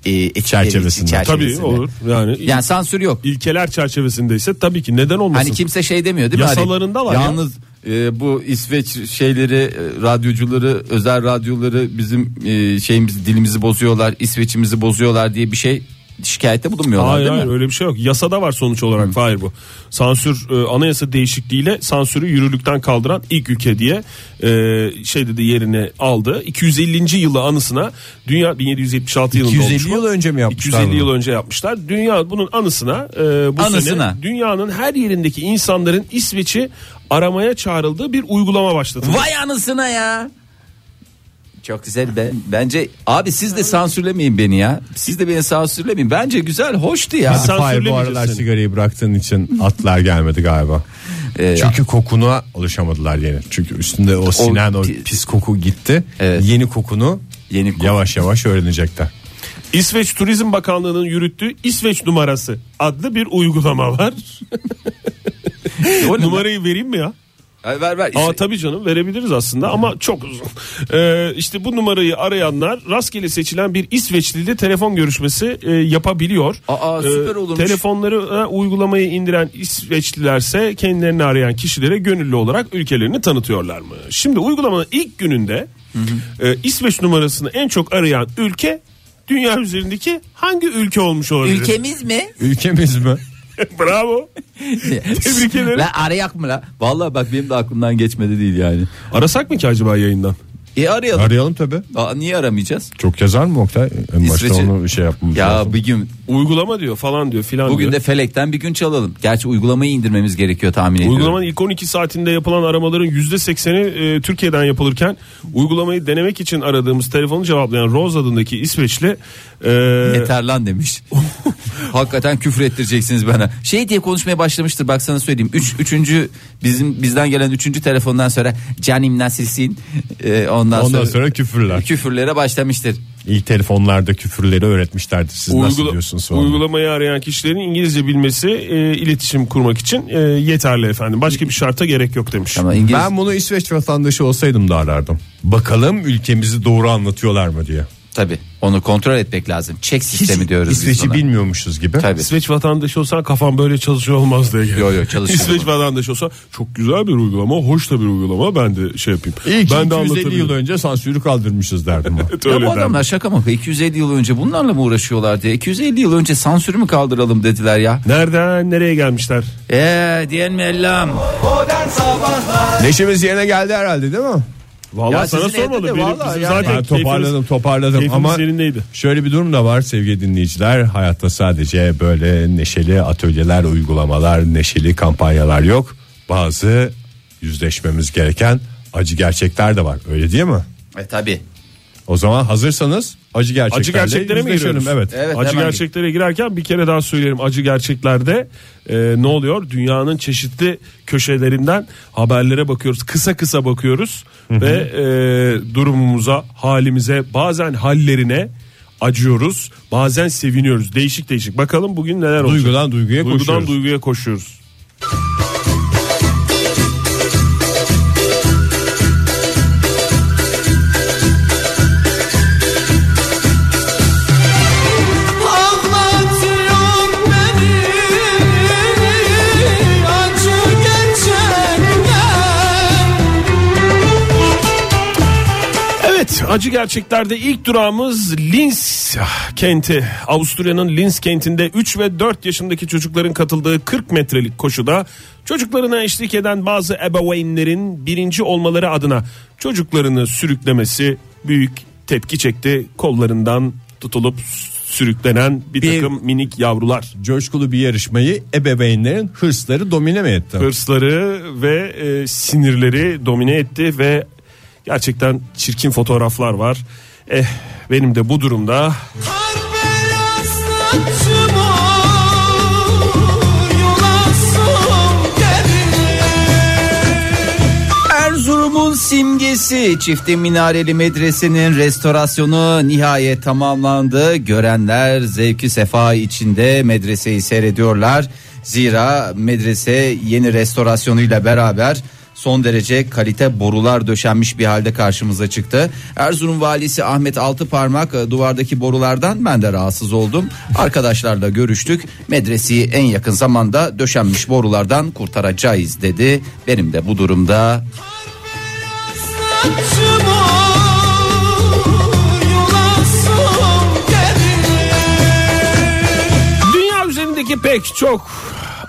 e, etkileri- Çerçevesinde. Tabii olur. Yani, Yani sansür yok. ilkeler çerçevesinde ise tabii ki neden olmasın? Hani kimse şey demiyor değil mi? Hani Yasalarında var ya. Yalnız e, bu İsveç şeyleri e, radyocuları özel radyoları bizim e, şeyimizi dilimizi bozuyorlar İsveç'imizi bozuyorlar diye bir şey şikayette bulunmuyorlar Hayır değil hayır mi? öyle bir şey yok. Yasada var sonuç olarak Hayır bu. Sansür e, anayasa değişikliğiyle sansürü yürürlükten kaldıran ilk ülke diye e, şey dedi yerini aldı. 250. yılı anısına dünya 1776 yılında 250 olmuş bu. yıl önce mi yapmışlar 250 bunu? yıl önce yapmışlar. Dünya bunun anısına e, bu Anısına. sene dünyanın her yerindeki insanların İsveç'i aramaya çağrıldığı bir uygulama başlatıldı. Vay anasına ya. Çok güzel be. Bence abi siz de sansürlemeyin beni ya. Siz de beni sansürlemeyin. Bence güzel, hoştu ya. Sen Hayır bu söylemeyeceksin. aralar sigarayı bıraktığın için atlar gelmedi galiba. Ee, Çünkü kokuna alışamadılar yeni. Çünkü üstünde o sinen o, pi- pis koku gitti. Evet. Yeni kokunu Yeni koku. yavaş yavaş öğrenecekler. İsveç Turizm Bakanlığı'nın yürüttüğü İsveç numarası adlı bir uygulama var. O ne? Numarayı vereyim mi ya? Ay, ver ver. Aa tabii canım verebiliriz aslında ama çok uzun. Ee, işte bu numarayı arayanlar rastgele seçilen bir İsveçli'yle telefon görüşmesi e, yapabiliyor. Ee, Aa, süper olurmuş. Telefonları e, uygulamayı indiren İsveçlilerse kendilerini arayan kişilere gönüllü olarak ülkelerini tanıtıyorlar mı? Şimdi uygulamanın ilk gününde e, İsveç numarasını en çok arayan ülke dünya üzerindeki hangi ülke olmuş olabilir? Ülkemiz mi? Ülkemiz mi? Bravo. Tebrik ederim. La arayak mı la? Vallahi bak benim de aklımdan geçmedi değil yani. Arasak mı ki acaba yayından? E arayalım. Arayalım tabi. Aa, niye aramayacağız? Çok yazar mı Oktay? En başta İsveç'i- onu şey yapmamız Ya lazım. bir gün Uygulama diyor falan diyor filan diyor. bugün de felekten bir gün çalalım. Gerçi uygulamayı indirmemiz gerekiyor tahmin ediyorum. Uygulamanın ilk 12 saatinde yapılan aramaların %80'i e, Türkiye'den yapılırken uygulamayı denemek için aradığımız telefonu cevaplayan Rose adındaki İsveçli e, Yeter lan demiş. Hakikaten küfür ettireceksiniz bana. Şey diye konuşmaya başlamıştır bak sana söyleyeyim. Üç, üçüncü bizim bizden gelen üçüncü telefondan sonra canim nasılsın Ee, ondan, Ondan sonra, sonra küfürler. küfürlere başlamıştır. İyi telefonlarda küfürleri öğretmişlerdi. Siz nasıl Uygula- diyorsunuz falan. uygulamayı arayan kişilerin İngilizce bilmesi e, iletişim kurmak için e, yeterli efendim. Başka bir şarta gerek yok demiş. Ama İngiliz Ben bunu İsveç vatandaşı olsaydım da arardım. Bakalım ülkemizi doğru anlatıyorlar mı diye. tabi onu kontrol etmek lazım. Çek Hiç sistemi diyoruz biz İsveç'i buna. bilmiyormuşuz gibi. Tabii. İsveç vatandaşı olsan kafam böyle çalışıyor olmaz diye. geldim. Yo, yo, çalışıyor. İsveç vatandaşı olsa çok güzel bir uygulama, hoş da bir uygulama. Ben de şey yapayım. İyi ki ben 250 yıl de anlatabilirim. önce sansürü kaldırmışız derdim. ben. Evet, Ya öyle bu derdim. adamlar şaka mı? 250 yıl önce bunlarla mı uğraşıyorlar diye. 250 yıl önce sansürü mü kaldıralım dediler ya. Nereden nereye gelmişler? Eee diyen mi ellam? Neşemiz yerine geldi herhalde değil mi? Vallahi Ya sana sizin evde sormadı. de Benim, vallahi bizim yani. zaten Ben toparladım keyfimiz- toparladım keyfimiz ama yerindeydi. şöyle bir durum da var sevgili dinleyiciler. Hayatta sadece böyle neşeli atölyeler, uygulamalar, neşeli kampanyalar yok. Bazı yüzleşmemiz gereken acı gerçekler de var. Öyle değil mi? E tabi. O zaman hazırsanız acı gerçeklerle Acı gerçeklere mi yüzleşelim. giriyoruz? Evet. Evet, acı hemen gerçeklere girerken bir kere daha söyleyelim. Acı gerçeklerde e, ne oluyor? Dünyanın çeşitli köşelerinden haberlere bakıyoruz. Kısa kısa bakıyoruz ve e, durumumuza, halimize, bazen hallerine acıyoruz. Bazen seviniyoruz. Değişik değişik. Bakalım bugün neler olacak. Duygudan duyguya Duygudan koşuyoruz. duyguya koşuyoruz. Anlatıyor beni acı gerçekler Evet acı gerçeklerde ilk durağımız Linz kenti. Avusturya'nın Linz kentinde 3 ve 4 yaşındaki çocukların katıldığı 40 metrelik koşuda çocuklarına eşlik eden bazı ebeveynlerin birinci olmaları adına çocuklarını sürüklemesi büyük tepki çekti. Kollarından tutulup sürüklenen bir, Bir- takım minik yavrular. Coşkulu bir yarışmayı ebeveynlerin hırsları domine mi etti? hırsları ve e, sinirleri domine etti ve gerçekten çirkin fotoğraflar var. Eh benim de bu durumda Harber aslançım ol Yolasım gelir Erzurum'un simgesi çifte minareli medresenin restorasyonu nihayet tamamlandı. Görenler zevki sefa içinde medreseyi seyrediyorlar. Zira medrese yeni restorasyonuyla beraber son derece kalite borular döşenmiş bir halde karşımıza çıktı. Erzurum valisi Ahmet Altıparmak e, duvardaki borulardan ben de rahatsız oldum. Arkadaşlarla görüştük. Medreseyi en yakın zamanda döşenmiş borulardan kurtaracağız dedi. Benim de bu durumda Aslançım ol Yolasım gelir dünya üzerindeki pek çok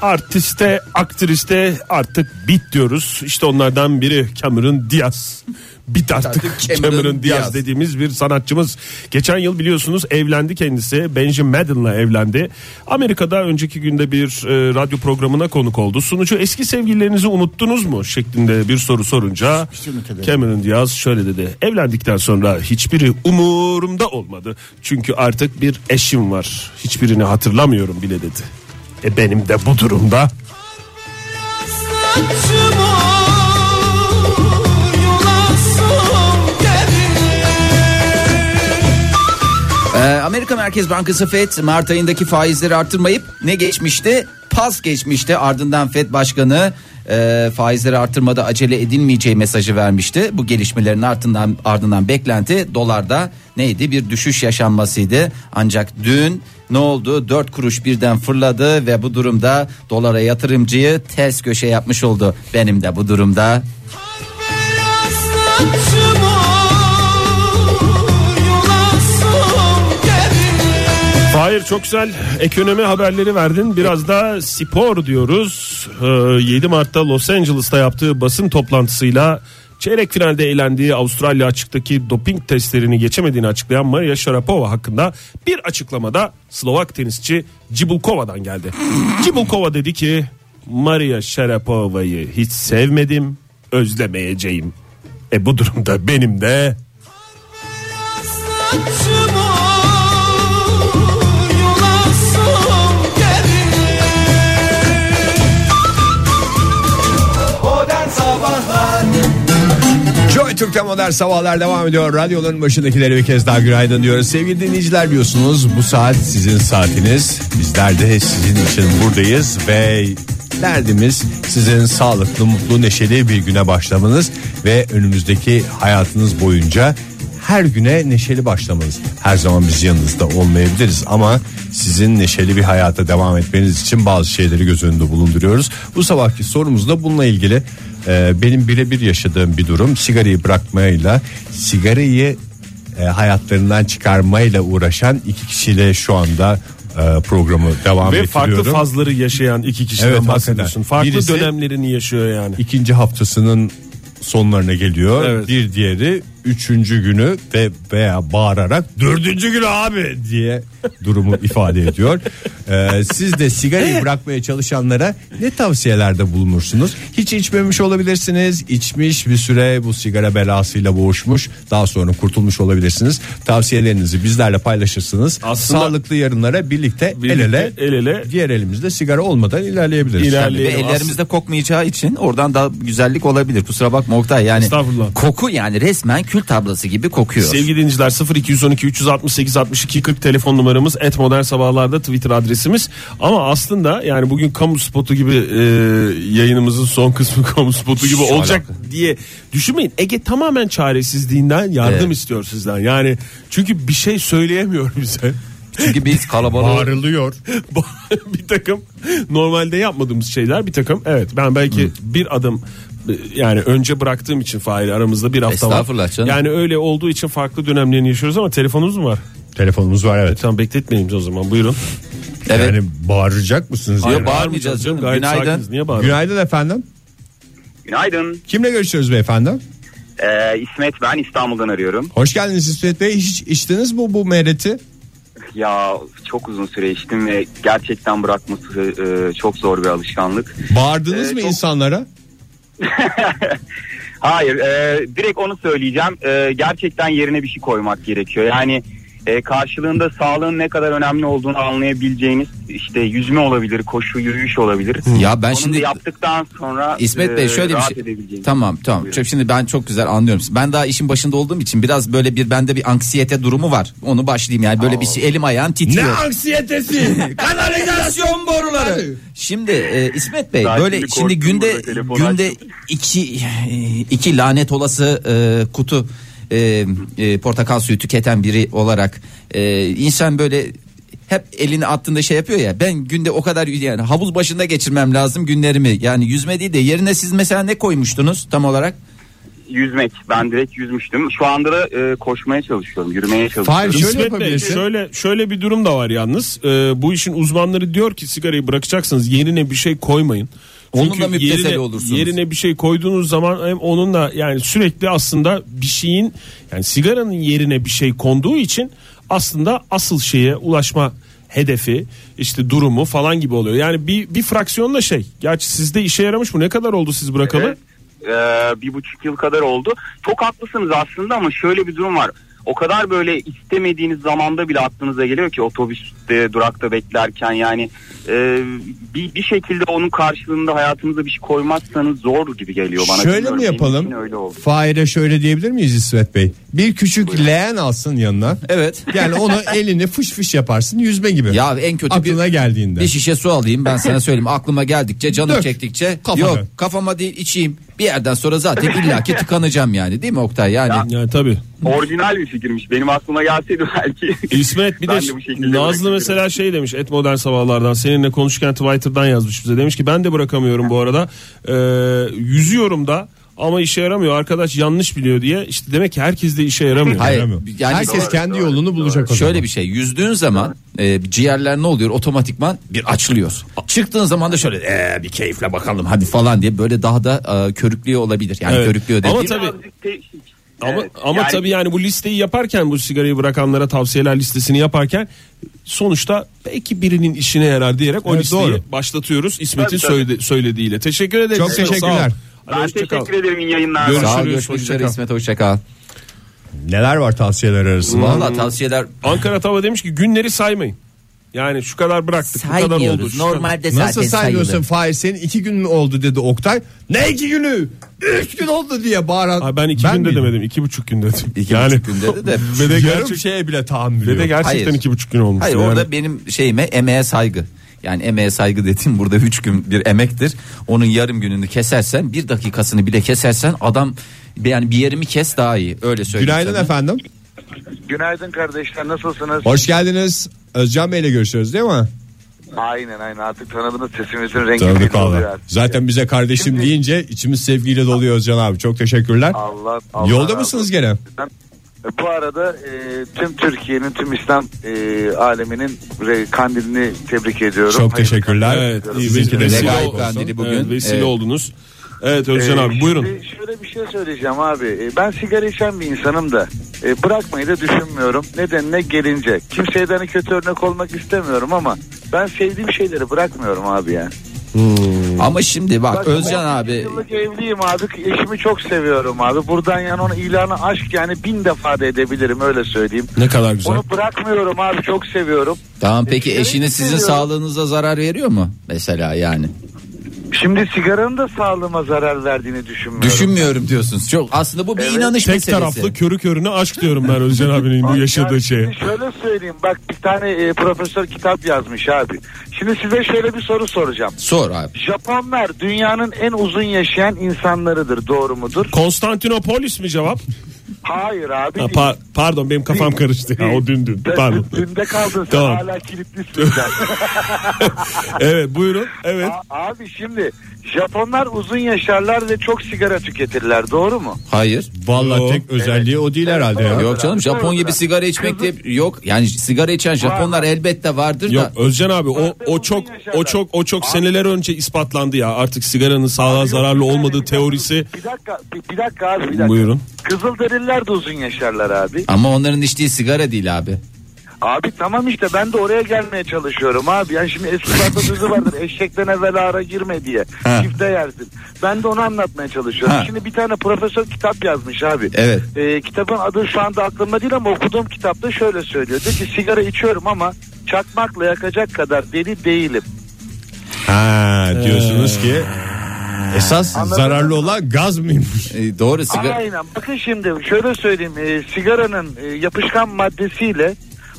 artiste, aktriste artık bit diyoruz. İşte onlardan biri Cameron Diaz. Bit artık, Artık Cameron, Cameron Diaz, Diaz. dediğimiz bir sanatçımız. Geçen yıl biliyorsunuz evlendi kendisi. Benjamin Madden'la evlendi. Amerika'da önceki günde bir e, radyo programına konuk oldu. Sunucu eski sevgililerinizi unuttunuz mu şeklinde bir soru sorunca Cameron Diaz şöyle dedi. Evlendikten sonra hiçbiri umurumda olmadı. Çünkü artık bir eşim var. Hiçbirini hatırlamıyorum bile dedi. E benim de bu durumda Aslançım ol Yolasım gelir Ee, Amerika Merkez Bankası FED Mart ayındaki faizleri artırmayıp ne geçmişti? Pas geçmişti. Ardından FED Başkanı e, faizleri artırmada acele edilmeyeceği mesajı vermişti. Bu gelişmelerin ardından ardından beklenti dolarda neydi? Bir düşüş yaşanmasıydı. Ancak dün ne oldu? 4 kuruş birden fırladı ve bu durumda dolara yatırımcıyı ters köşe yapmış oldu. Benim de bu durumda Aslançım ol Yolasım gelir Hayır çok güzel ekonomi haberleri verdin. Biraz da spor diyoruz. Ee, 7 Mart'ta Los Angeles'ta yaptığı basın toplantısıyla çeyrek finalde eğlendiği Avustralya açıktaki doping testlerini geçemediğini açıklayan Maria Sharapova hakkında bir açıklamada Slovak tenisçi Cibulkova'dan geldi. Cibulkova dedi ki Maria Sharapova'yı hiç sevmedim, özlemeyeceğim. E bu durumda benim de Aslançım ol Yolasım gelir Joy Joy Türk'te modern sabahlar devam ediyor. Radyoların başındakilere bir kez daha günaydın diyoruz. Sevgili dinleyiciler diyorsunuz bu saat sizin saatiniz. Bizler de sizin için buradayız ve derdimiz sizin sağlıklı, mutlu, neşeli bir güne başlamanız ve önümüzdeki hayatınız boyunca her güne neşeli başlamanız. Her zaman biz yanınızda olmayabiliriz ama sizin neşeli bir hayata devam etmeniz için bazı şeyleri göz önünde bulunduruyoruz. Bu sabahki sorumuz da bununla ilgili. Ee, benim birebir yaşadığım bir durum sigarayı bırakmayla sigarayı e, hayatlarından çıkarmayla uğraşan iki kişiyle şu anda e, programı devam Ve ettiriyorum. farklı fazları yaşayan iki kişiden Evet, hakikaten. bahsediyorsun. Farklı Birisi- dönemlerini yaşıyor yani. ikinci haftasının sonlarına geliyor. Evet. Bir diğeri üçüncü günü ve veya bağırarak dördüncü günü abi diye durumu ifade ediyor. Ee, siz de sigarayı bırakmaya çalışanlara ne tavsiyelerde bulunursunuz? Hiç içmemiş olabilirsiniz. İçmiş bir süre bu sigara belasıyla boğuşmuş. Daha sonra kurtulmuş olabilirsiniz. Tavsiyelerinizi bizlerle paylaşırsınız. Aslında- Sağlıklı yarınlara birlikte, el ele, Birlikte el ele. diğer elimizde sigara olmadan ilerleyebiliriz. İlerle- Ve Aslında- ellerimizde kokmayacağı için oradan daha güzellik olabilir. Kusura bakma Oktay yani. Estağfurullah. Koku yani resmen kül tablası gibi kokuyor. Sevgili dinleyiciler 0212 368 62 40 telefon numaramız et modern sabahlarda Twitter adresimiz. Ama aslında yani bugün kamu spotu gibi e, yayınımızın son kısmı kamu spotu gibi Hiç olacak diye düşünmeyin. Ege tamamen çaresizliğinden yardım Evet. istiyor sizden. Yani çünkü bir şey söyleyemiyor bize. Çünkü biz kalabalık. Bağırılıyor. bir takım normalde yapmadığımız şeyler bir takım evet ben belki bir adım e, yani önce bıraktığım için Fahir aramızda bir hafta var. Estağfurullah canım. Yani öyle olduğu için farklı dönemlerini yaşıyoruz ama telefonumuz mu var? Telefonumuz var evet. Tamam bekletmeyeyim o zaman buyurun. Evet. Yani bağıracak mısınız? Hayır, ya? bağırmayacağız canım. Gayet Günaydın. sakiniz. Niye bağırıyorsun? Günaydın efendim. Günaydın. Kimle görüşüyoruz beyefendi? Ee, İsmet ben İstanbul'dan arıyorum. Hoş geldiniz İsmet Bey. Hiç içtiniz mi bu mereti? Ya çok uzun süre içtim ve gerçekten bırakması e, çok zor bir alışkanlık. Bağırdınız Ee, mı çok- insanlara? Hayır e, direkt onu söyleyeceğim. E, gerçekten yerine bir şey koymak gerekiyor. Yani e, karşılığında sağlığın ne kadar önemli olduğunu anlayabileceğiniz işte yüzme olabilir, koşu, yürüyüş olabilir. Ya ben Onu şimdi- yaptıktan sonra İsmet Bey e, şöyle bir rahat şey. edebileceğiniz- Tamam tamam. Buyurun. Çok Şimdi ben çok güzel anlıyorum. Ben daha işin başında olduğum için biraz böyle bir bende bir anksiyete durumu var. Onu başlayayım yani böyle bir şey elim ayağım titriyor. anksiyetesi? Kanalizasyon boruları. Şimdi e, İsmet Bey Daha böyle şimdi şimdi korktum günde burada, telefonu günde açtım. iki iki lanet olası e, kutu e, e, portakal suyu tüketen biri olarak e, insan böyle hep elini attığında şey yapıyor ya ben günde o kadar yani havuz başında geçirmem lazım günlerimi yani yüzme değil de yerine siz mesela ne koymuştunuz tam olarak Yüzmek. Ben direkt yüzmüştüm. Şu anda da e, koşmaya çalışıyorum, yürümeye çalışıyorum. Şöyle İsmet Bey yapabilirsin. şöyle, şöyle bir durum da var yalnız. Ee, bu işin uzmanları diyor ki sigarayı bırakacaksınız yerine bir şey koymayın. Onunla müptesel yerine, olursunuz. Yerine bir şey koyduğunuz zaman hem onunla yani sürekli aslında bir şeyin yani sigaranın yerine bir şey konduğu için aslında asıl şeye ulaşma hedefi işte durumu falan gibi oluyor. Yani bir, bir fraksiyon da şey. Gerçi sizde işe yaramış mı? Ne kadar oldu siz bırakalı? Evet. Ee, bir buçuk yıl kadar oldu. Çok haklısınız aslında ama şöyle bir durum var. O kadar böyle istemediğiniz zamanda bile aklınıza geliyor ki otobüste durakta beklerken yani e, bir, bir şekilde onun karşılığında hayatınıza bir şey koymazsanız zor gibi geliyor bana. Şöyle Bilmiyorum, mi benim yapalım? için Öyle oldu. Fahir'e şöyle diyebilir miyiz İsmet Bey? Bir küçük leğen alsın yanına. evet Yani onu elini fış fış yaparsın yüzme gibi. ya en kötü bir, Aklına geldiğinde. bir şişe su alayım ben sana söyleyeyim aklıma geldikçe canım Dök. çektikçe Kafana. yok kafama değil içeyim bir yerden sonra zaten illaki tıkanacağım yani değil mi Oktay yani Yani tabii. Orijinal bir fikirmiş. Benim aklıma gelseydi belki. İsmet bir de, Ben bu şekilde Nazlı bırakabilirim. mesela şey demiş et modern sabahlardan seninle konuşurken Twitter'dan yazmış bize demiş ki ben de bırakamıyorum bu arada Ee, yüzüyorum da ama işe yaramıyor arkadaş yanlış biliyor diye işte demek ki herkes de işe yaramıyor. Hayır. Yaramıyor. Yani- Herkes Doğru, kendi doğru, yolunu doğru. bulacak o Şöyle zaman. bir şey yüzdüğün zaman e, ciğerler ne oluyor otomatikman bir açılıyor. Çıktığın zaman da şöyle "Ee, bir keyifle bakalım hadi falan diye böyle daha da e, körüklüyor olabilir. Yani Evet. körüklüyor dediğim. Ama tabii- Birazcık değişik. Ama Evet, ama yani- tabii yani bu listeyi yaparken bu sigarayı bırakanlara tavsiyeler listesini yaparken sonuçta belki birinin işine yarar diyerek o Evet, listeyi doğru. başlatıyoruz İsmet'in Tabii, tabii. söyledi- söylediğiyle. Teşekkür ederiz. Çok Sağ ol. teşekkürler. Hadi Ben hoşça kal. teşekkür ederim iyi yayınlar. Görüşürüz. Sağ ol, görüşmek hoşça üzere kal. İsmet hoşçakal. Neler var tavsiyeler arasında? Valla tavsiyeler Ankara Tava demiş ki günleri saymayın. Yani şu kadar bıraktık bu kadar oldu. Saymıyoruz. şu kadar- Normalde zaten Nasıl saymıyorsun sayılır. Fahir senin iki gün mü oldu dedi Oktay. Ne iki günü? Üç gün oldu diye bağıran. Aa, ben iki günde miyim? demedim. iki buçuk gün dedim. İki buçuk gün dedi de. Ve de, Yarım gerçek- şeye bile tahammül ve de yok. gerçekten Hayır. iki buçuk gün olmuş. Hayır Yani orada benim şeyime emeğe saygı. Yani emeğe saygı dediğim burada üç gün bir emektir. Onun yarım gününü kesersen bir dakikasını bile kesersen adam yani bir yerimi kes daha iyi. Öyle söyleyeyim. Günaydın sana. efendim. Günaydın kardeşler nasılsınız? Hoş geldiniz. Özcan Bey'le görüşüyoruz değil mi? Aynen aynen artık tanıdınız sesimizin rengi belli Tanıdık oluyor valla. artık. Zaten bize kardeşim Şimdi- deyince içimiz sevgiyle doluyor Özcan abi. Çok teşekkürler. Allah, Allah Yolda razı mısınız gene? olsun. Bu arada e, tüm Türkiye'nin tüm İslam e, aleminin re- kandilini tebrik ediyorum. E, Çok Hayırlı teşekkürler. Evet, kandiller. iyi Sizinki vesile, de vesile gayet oldu. kandili bugün. Evet, vesile Evet. oldunuz. Evet Özcan Ee, abi buyurun. şimdi Şöyle bir şey söyleyeceğim abi. Ee, Ben sigara içen bir insanım da e, bırakmayı da düşünmüyorum. Nedenine gelince. Kimseye de hani kötü örnek olmak istemiyorum ama ben sevdiğim şeyleri bırakmıyorum abi yani. Ama şimdi bak, Bak, Özcan ben abi Yıllık evliyim abi. Eşimi çok seviyorum abi. Buradan yani onun ilanı aşk yani bin defa da edebilirim öyle söyleyeyim. Ne kadar güzel. Onu bırakmıyorum abi çok seviyorum. tamam peki eşiniz sizin seviyorum. sağlığınıza zarar veriyor mu mesela yani? Şimdi sigaranın da sağlığıma zarar verdiğini düşünmüyorum. Düşünmüyorum diyorsunuz. Çok aslında bu bir Evet. inanış Tek meselesi. taraflı körü körüne aşk diyorum ben Özcan abinin bu Abi yaşadığı şey. yani şeye. şimdi Şöyle söyleyeyim bak bir tane e, profesör kitap yazmış abi. Şimdi size şöyle bir soru soracağım. Sor abi. Japonlar dünyanın en uzun yaşayan insanlarıdır doğru mudur? Konstantinopolis mi cevap? Hayır abi. Ha, değil. pa- pardon benim kafam Değil, karıştı ya değil. o dün dün. Dün- Pardon. Dünde kaldın sen Tamam. hala kilitlisin sen. Evet buyurun. Evet. A- abi şimdi Japonlar uzun yaşarlar ve çok sigara tüketirler doğru mu? Hayır. Valla Yo. tek özelliği o değil herhalde ya. Yok canım abi, Japon doğru gibi da. sigara içmek diye yok. Yani sigara içen Japonlar elbette vardır da. Yok Özcan abi o Zaten o uzun çok yaşarlar. o çok o çok seneler önce ispatlandı ya. Artık sigaranın sağlığa Yok, bir zararlı dakika, bir olmadığı dakika, teorisi. Bir dakika bir, bir dakika abi bir dakika. Buyurun. Kızılderililer de uzun yaşarlar abi. Ama onların içtiği sigara değil abi. Abi tamam işte ben de oraya gelmeye çalışıyorum abi. Yani şimdi eskilerde sözü vardır eşekten evvel ara girme diye. Çifte yersin. Ben de onu anlatmaya çalışıyorum. Ha. Şimdi bir tane profesör kitap yazmış abi. Evet. Ee, kitabın adı şu anda aklımda değil ama okuduğum kitapta şöyle söylüyor. Diyor ki sigara içiyorum ama çakmakla yakacak kadar deli değilim. Ha diyorsunuz ki esas Anladım. zararlı olan gaz mıymış? E, doğru sigara. Aynen. Bakın şimdi şöyle söyleyeyim. Ee, sigaranın e, yapışkan maddesiyle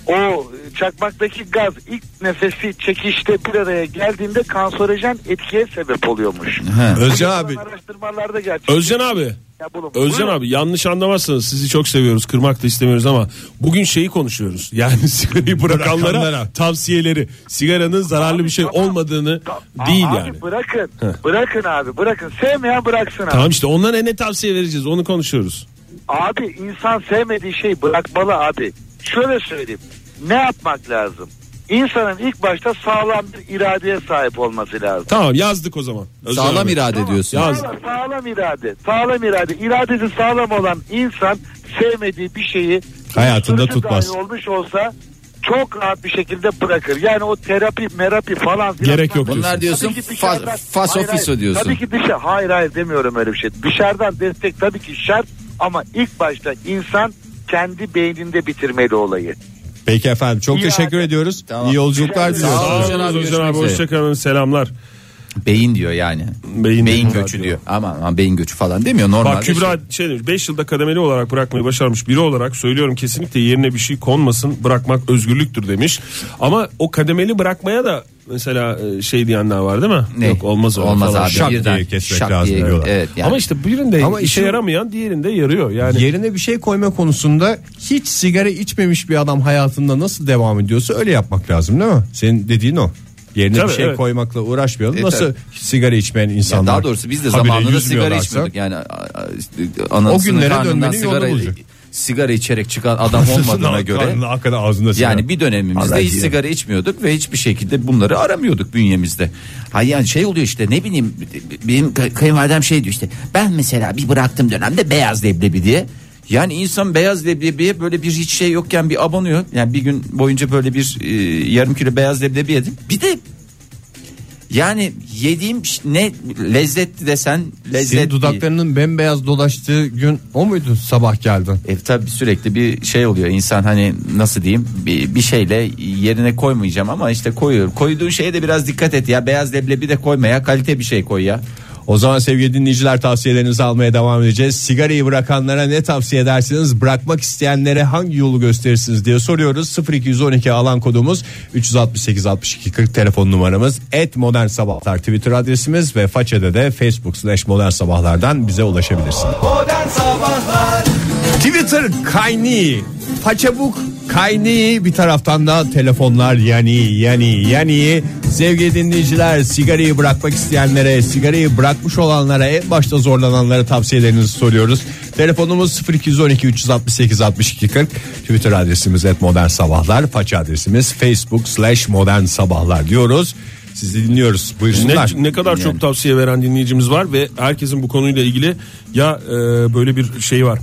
o e, çakmaktaki gaz ilk nefesi çekişte bir araya geldiğinde kanserojen etkiye sebep oluyormuş. He. Özcan abi Yapılan Araştırmalarda gerçek. Özcan abi. Ya bulun. Özcan Buyurun. abi yanlış anlamazsınız. Sizi çok seviyoruz. Kırmak da istemiyoruz ama bugün şeyi konuşuyoruz. Yani sigarayı bırakanlara, Bırakanlara. tavsiyeleri. Sigaranın zararlı bir şey tamam. olmadığını Aa, değil abi yani. bırakın. Bırakın abi bırakın. Sevmeyen bıraksın abi. Tamam işte onlara ne tavsiye vereceğiz onu konuşuyoruz. Abi insan sevmediği şey bırakmalı abi. Şöyle söyleyeyim. Ne yapmak lazım? İnsanın ilk başta sağlam bir iradeye sahip olması lazım. Tamam yazdık o zaman. Özcan Sağlam abi. irade diyorsun. Ya- Sağlam, sağlam irade. Sağlam irade. İradesi sağlam olan insan sevmediği bir şeyi Hayatında sürücü tutmaz. dahi olmuş olsa çok rahat bir şekilde bırakır. Yani o terapi, merapi falan filan. Gerek yok. Bunlar diyorsun Tabii ki fa, dışarıdan- fas Hayır, ofiso hayır. diyorsun. Tabii ki dışarı. Hayır hayır demiyorum öyle bir şey. Dışarıdan destek tabii ki şart ama ilk başta insan kendi beyninde bitirmeli olayı. peki efendim çok teşekkür ediyoruz. Tamam. İyi yolculuklar Rica ederim. diliyoruz. Sağ olun. Özcan abi, Özcan abi görüşmek üzere. hoşçakalın selamlar. Beyin diyor yani. Beyin- beyin göçü diyor. Aman aman beyin göçü falan demiyor normal. Bak Kübra şey demiş 5 yılda kademeli olarak bırakmayı başarmış biri olarak söylüyorum kesinlikle yerine bir şey konmasın bırakmak özgürlüktür demiş. Ama o kademeli bırakmaya da mesela e, şey diyenler var değil mi? Ne? Yok olmaz o Olmaz falan. abi. Şak diye birden, kesmek şak lazım diye- diyorlar. Evet, yani. Ama işte birinde Ama işe işin- yaramayan diğerinde yarıyor. Yani Yerine bir şey koyma konusunda hiç sigara içmemiş bir adam hayatında nasıl devam ediyorsa öyle yapmak lazım değil mi? Senin dediğin o. Yerine Tabii, bir şey evet. koymakla uğraşmayalım. E, nasıl tabii. sigara içmeyen Ya insanlar? daha doğrusu biz de habire zamanında sigara yüzmüyorlarsa- içmiyorduk. Yani a- a- işte anasının günlere karnından dönmenin yolu sigara, olacak. sigara içerek çıkan adam olmadığına göre. Karnına, hakikaten ağzında sigara. Yani bir dönemimizde hiç sigara içmiyorduk ve hiçbir şekilde bunları aramıyorduk bünyemizde. Hayır yani şey oluyor işte ne bileyim benim kay- kayınvalidem şey diyor işte ben mesela bir bıraktım dönemde beyaz leblebi diye. Yani insan beyaz leblebiye böyle bir hiç şey yokken bir abanıyor. Yani bir gün boyunca böyle bir e, yarım kilo beyaz leblebi yedim. Bir de Yani yediğim ş- ne lezzetli desen lezzet Senin değil. dudaklarının bembeyaz dolaştığı gün o muydu sabah geldin? E tabi sürekli bir şey oluyor insan hani nasıl diyeyim bir, bir şeyle yerine koymayacağım ama işte koyuyorum. Koyduğun şeye de biraz dikkat et ya beyaz leblebi de koyma ya kalite bir şey koy ya. O zaman sevgili dinleyiciler tavsiyelerinizi almaya devam edeceğiz. Sigarayı bırakanlara ne tavsiye edersiniz? Bırakmak isteyenlere hangi yolu gösterirsiniz diye soruyoruz. 0212 alan kodumuz 368 62 40 telefon numaramız. Et Modern Sabahlar Twitter adresimiz ve façede de Facebook slash Modern Sabahlar'dan bize ulaşabilirsiniz. Twitter kayni Paçabuk kayni bir taraftan da telefonlar yani yani yani sevgili dinleyiciler sigarayı bırakmak isteyenlere sigarayı bırakmış olanlara en başta zorlananlara tavsiyelerinizi soruyoruz. Telefonumuz 0212 368 62 40 Twitter adresimiz et modern sabahlar faça adresimiz facebook slash modern sabahlar diyoruz. Sizi dinliyoruz buyursunlar. Ne, ne kadar çok tavsiye veren dinleyicimiz var ve herkesin bu konuyla ilgili ya e, böyle bir şey var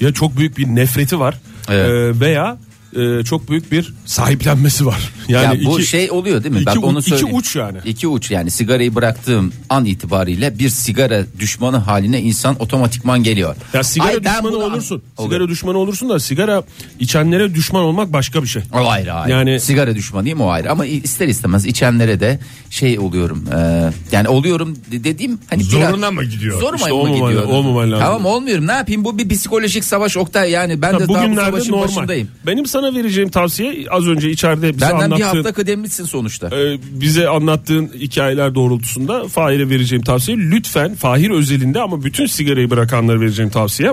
ya çok büyük bir nefreti var Evet. e, veya e, çok büyük bir sahiplenmesi var. Yani ya bu iki- şey oluyor değil mi? iki Bak u- onu iki söyleyeyim. uç yani. İki uç yani sigarayı bıraktığım an itibariyle bir sigara düşmanı haline insan otomatikman geliyor. Ya sigara Ay ben düşmanı bunu- olursun. Olur. Sigara düşmanı olursun da sigara içenlere düşman olmak başka bir şey. O ayrı ayrı. Yani- sigara düşmanıyım o ayrı ama ister istemez içenlere de şey oluyorum. e, yani oluyorum de- dediğim hani Zoruna mı gidiyor? Zoruma İşte mı olmaman- gidiyor? olmaman lazım. Tamam olmuyorum. Ne yapayım? Bu bir psikolojik savaş Oktay yani ben de daha bu Bugünlerde savaşın normal. başındayım. Benim sana vereceğim tavsiye az önce içeride bize Benden bir anlattığın hafta kıdemlisin sonuçta. e, bize anlattığın hikayeler doğrultusunda Fahir'e vereceğim tavsiye lütfen Fahir özelinde ama bütün sigarayı bırakanlara vereceğim tavsiye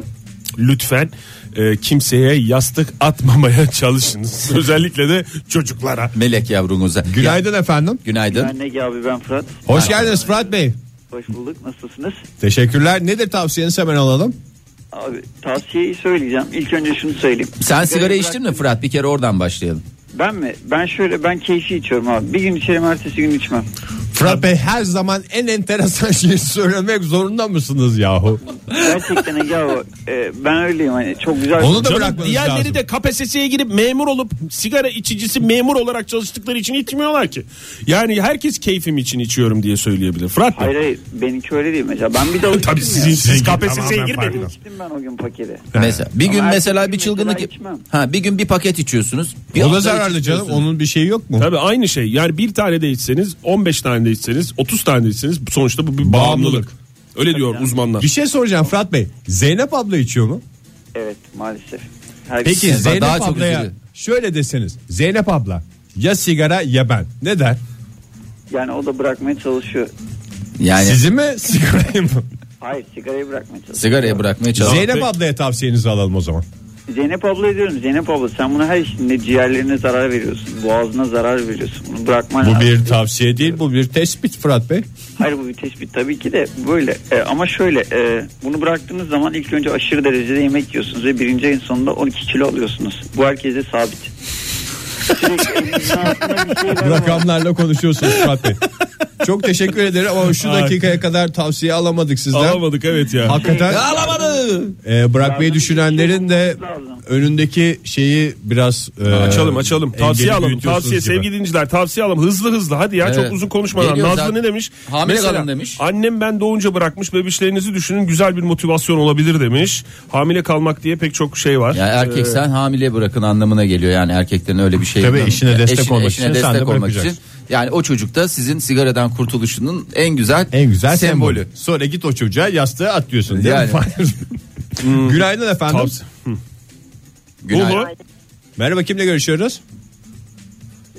lütfen e, kimseye yastık atmamaya çalışınız. Özellikle de çocuklara. Melek yavrunuza. Ya- Günaydın efendim. Günaydın. Negi abi ben Fırat. Hoş geldiniz Fırat Bey. Hoş bulduk. Nasılsınız? Teşekkürler. Nedir tavsiyeniz hemen alalım. Abi tavsiyeyi söyleyeceğim. İlk önce şunu söyleyeyim. Sen sigara içtin mi Fırat? Bir kere oradan başlayalım. Ben mi? Ben şöyle ben keyfi içiyorum abi. Bir gün içerim ertesi gün içmem. Fırat Bey her zaman en enteresan şeyi söylemek zorunda mısınız yahu? Gerçekten Ege abi e, ben öyleyim hani çok güzel. Onu da Canım, bırakmanız diğerleri lazım. de KPSS'ye girip memur olup sigara içicisi memur olarak çalıştıkları için içmiyorlar ki. Yani herkes keyfim için içiyorum diye söyleyebilir. Fırat Bey. Hayır hayır benimki öyle değil mesela. Ben bir de Tabii sizin ya. siz KPSS'ye girmediniz. İçtim ben o gün paketi. Mesela bir gün Ama mesela ertesi bir gün çılgınlık mesela içmem. ha bir gün bir paket içiyorsunuz. Bir O da hafta zararlı canım. içmiyorsunuz. Onun bir şeyi yok mu? Tabii aynı şey. Yani bir tane de içseniz, 15 tane de içseniz, 30 tane de içseniz sonuçta bu bir bağımlılık. Bağımlılık. Öyle diyor uzmanlar. Bir şey soracağım Fırat Bey. Zeynep abla içiyor mu? Evet maalesef. Her Peki Yani ben Zeynep daha çok ablaya üzülüyorum. şöyle deseniz. Zeynep abla ya sigara ya ben. Ne der? Yani o da bırakmaya çalışıyor. Yani Sizi mi sigarayı mı? Hayır sigarayı bırakmaya çalışıyor. sigarayı bırakmaya çalış. Zeynep ablaya tavsiyenizi alalım o zaman. Zeynep abla diyorum Zeynep abla sen bunu her işinde ciğerlerine zarar veriyorsun. Boğazına zarar veriyorsun. Bunu bırakman Bu lazım. bir tavsiye değil bu bir tespit Fırat Bey. Hayır bu bir tespit tabii ki de böyle. E, ama şöyle e, bunu bıraktığınız zaman ilk önce aşırı derecede yemek yiyorsunuz ve birinci ayın sonunda 12 kilo alıyorsunuz. Bu herkese sabit. Sürekli elinizin altında bir şey var ama- Rakamlarla konuşuyorsunuz Fırat Bey. Çok teşekkür ederim ama şu dakikaya kadar tavsiye alamadık sizden. Alamadık evet ya. Hakikaten Ee, bırakmayı düşünenlerin de önündeki şey- şeyi biraz e, Ee, Açalım açalım. Tavsiye engeli alalım. büyütüyorsunuz Tavsiye gibi. sevgili dinleyiciler tavsiye alalım. Hızlı hızlı hadi ya Evet. çok uzun konuşmadan. Geliyor Nazlı zaten. ne demiş? Hamile kalın demiş. Annem ben doğunca bırakmış bebişlerinizi düşünün güzel bir motivasyon olabilir demiş. Hamile kalmak diye pek çok şey var. Yani erkek sen hamile bırakın anlamına geliyor yani erkeklerin öyle bir şey. Ee, Tabii eşine destek olmak eşine için sen destek de olmak bırakacaksın. için. Yani o çocuk da sizin sigaradan kurtuluşunun en güzel En güzel sembolü. sembolü. Sonra git o çocuğa yastığı at diyorsun değil Yani. mi? Fahir? Hmm. Günaydın efendim. Tavsiye- Günaydın. Bu mu? Merhaba kimle görüşüyoruz?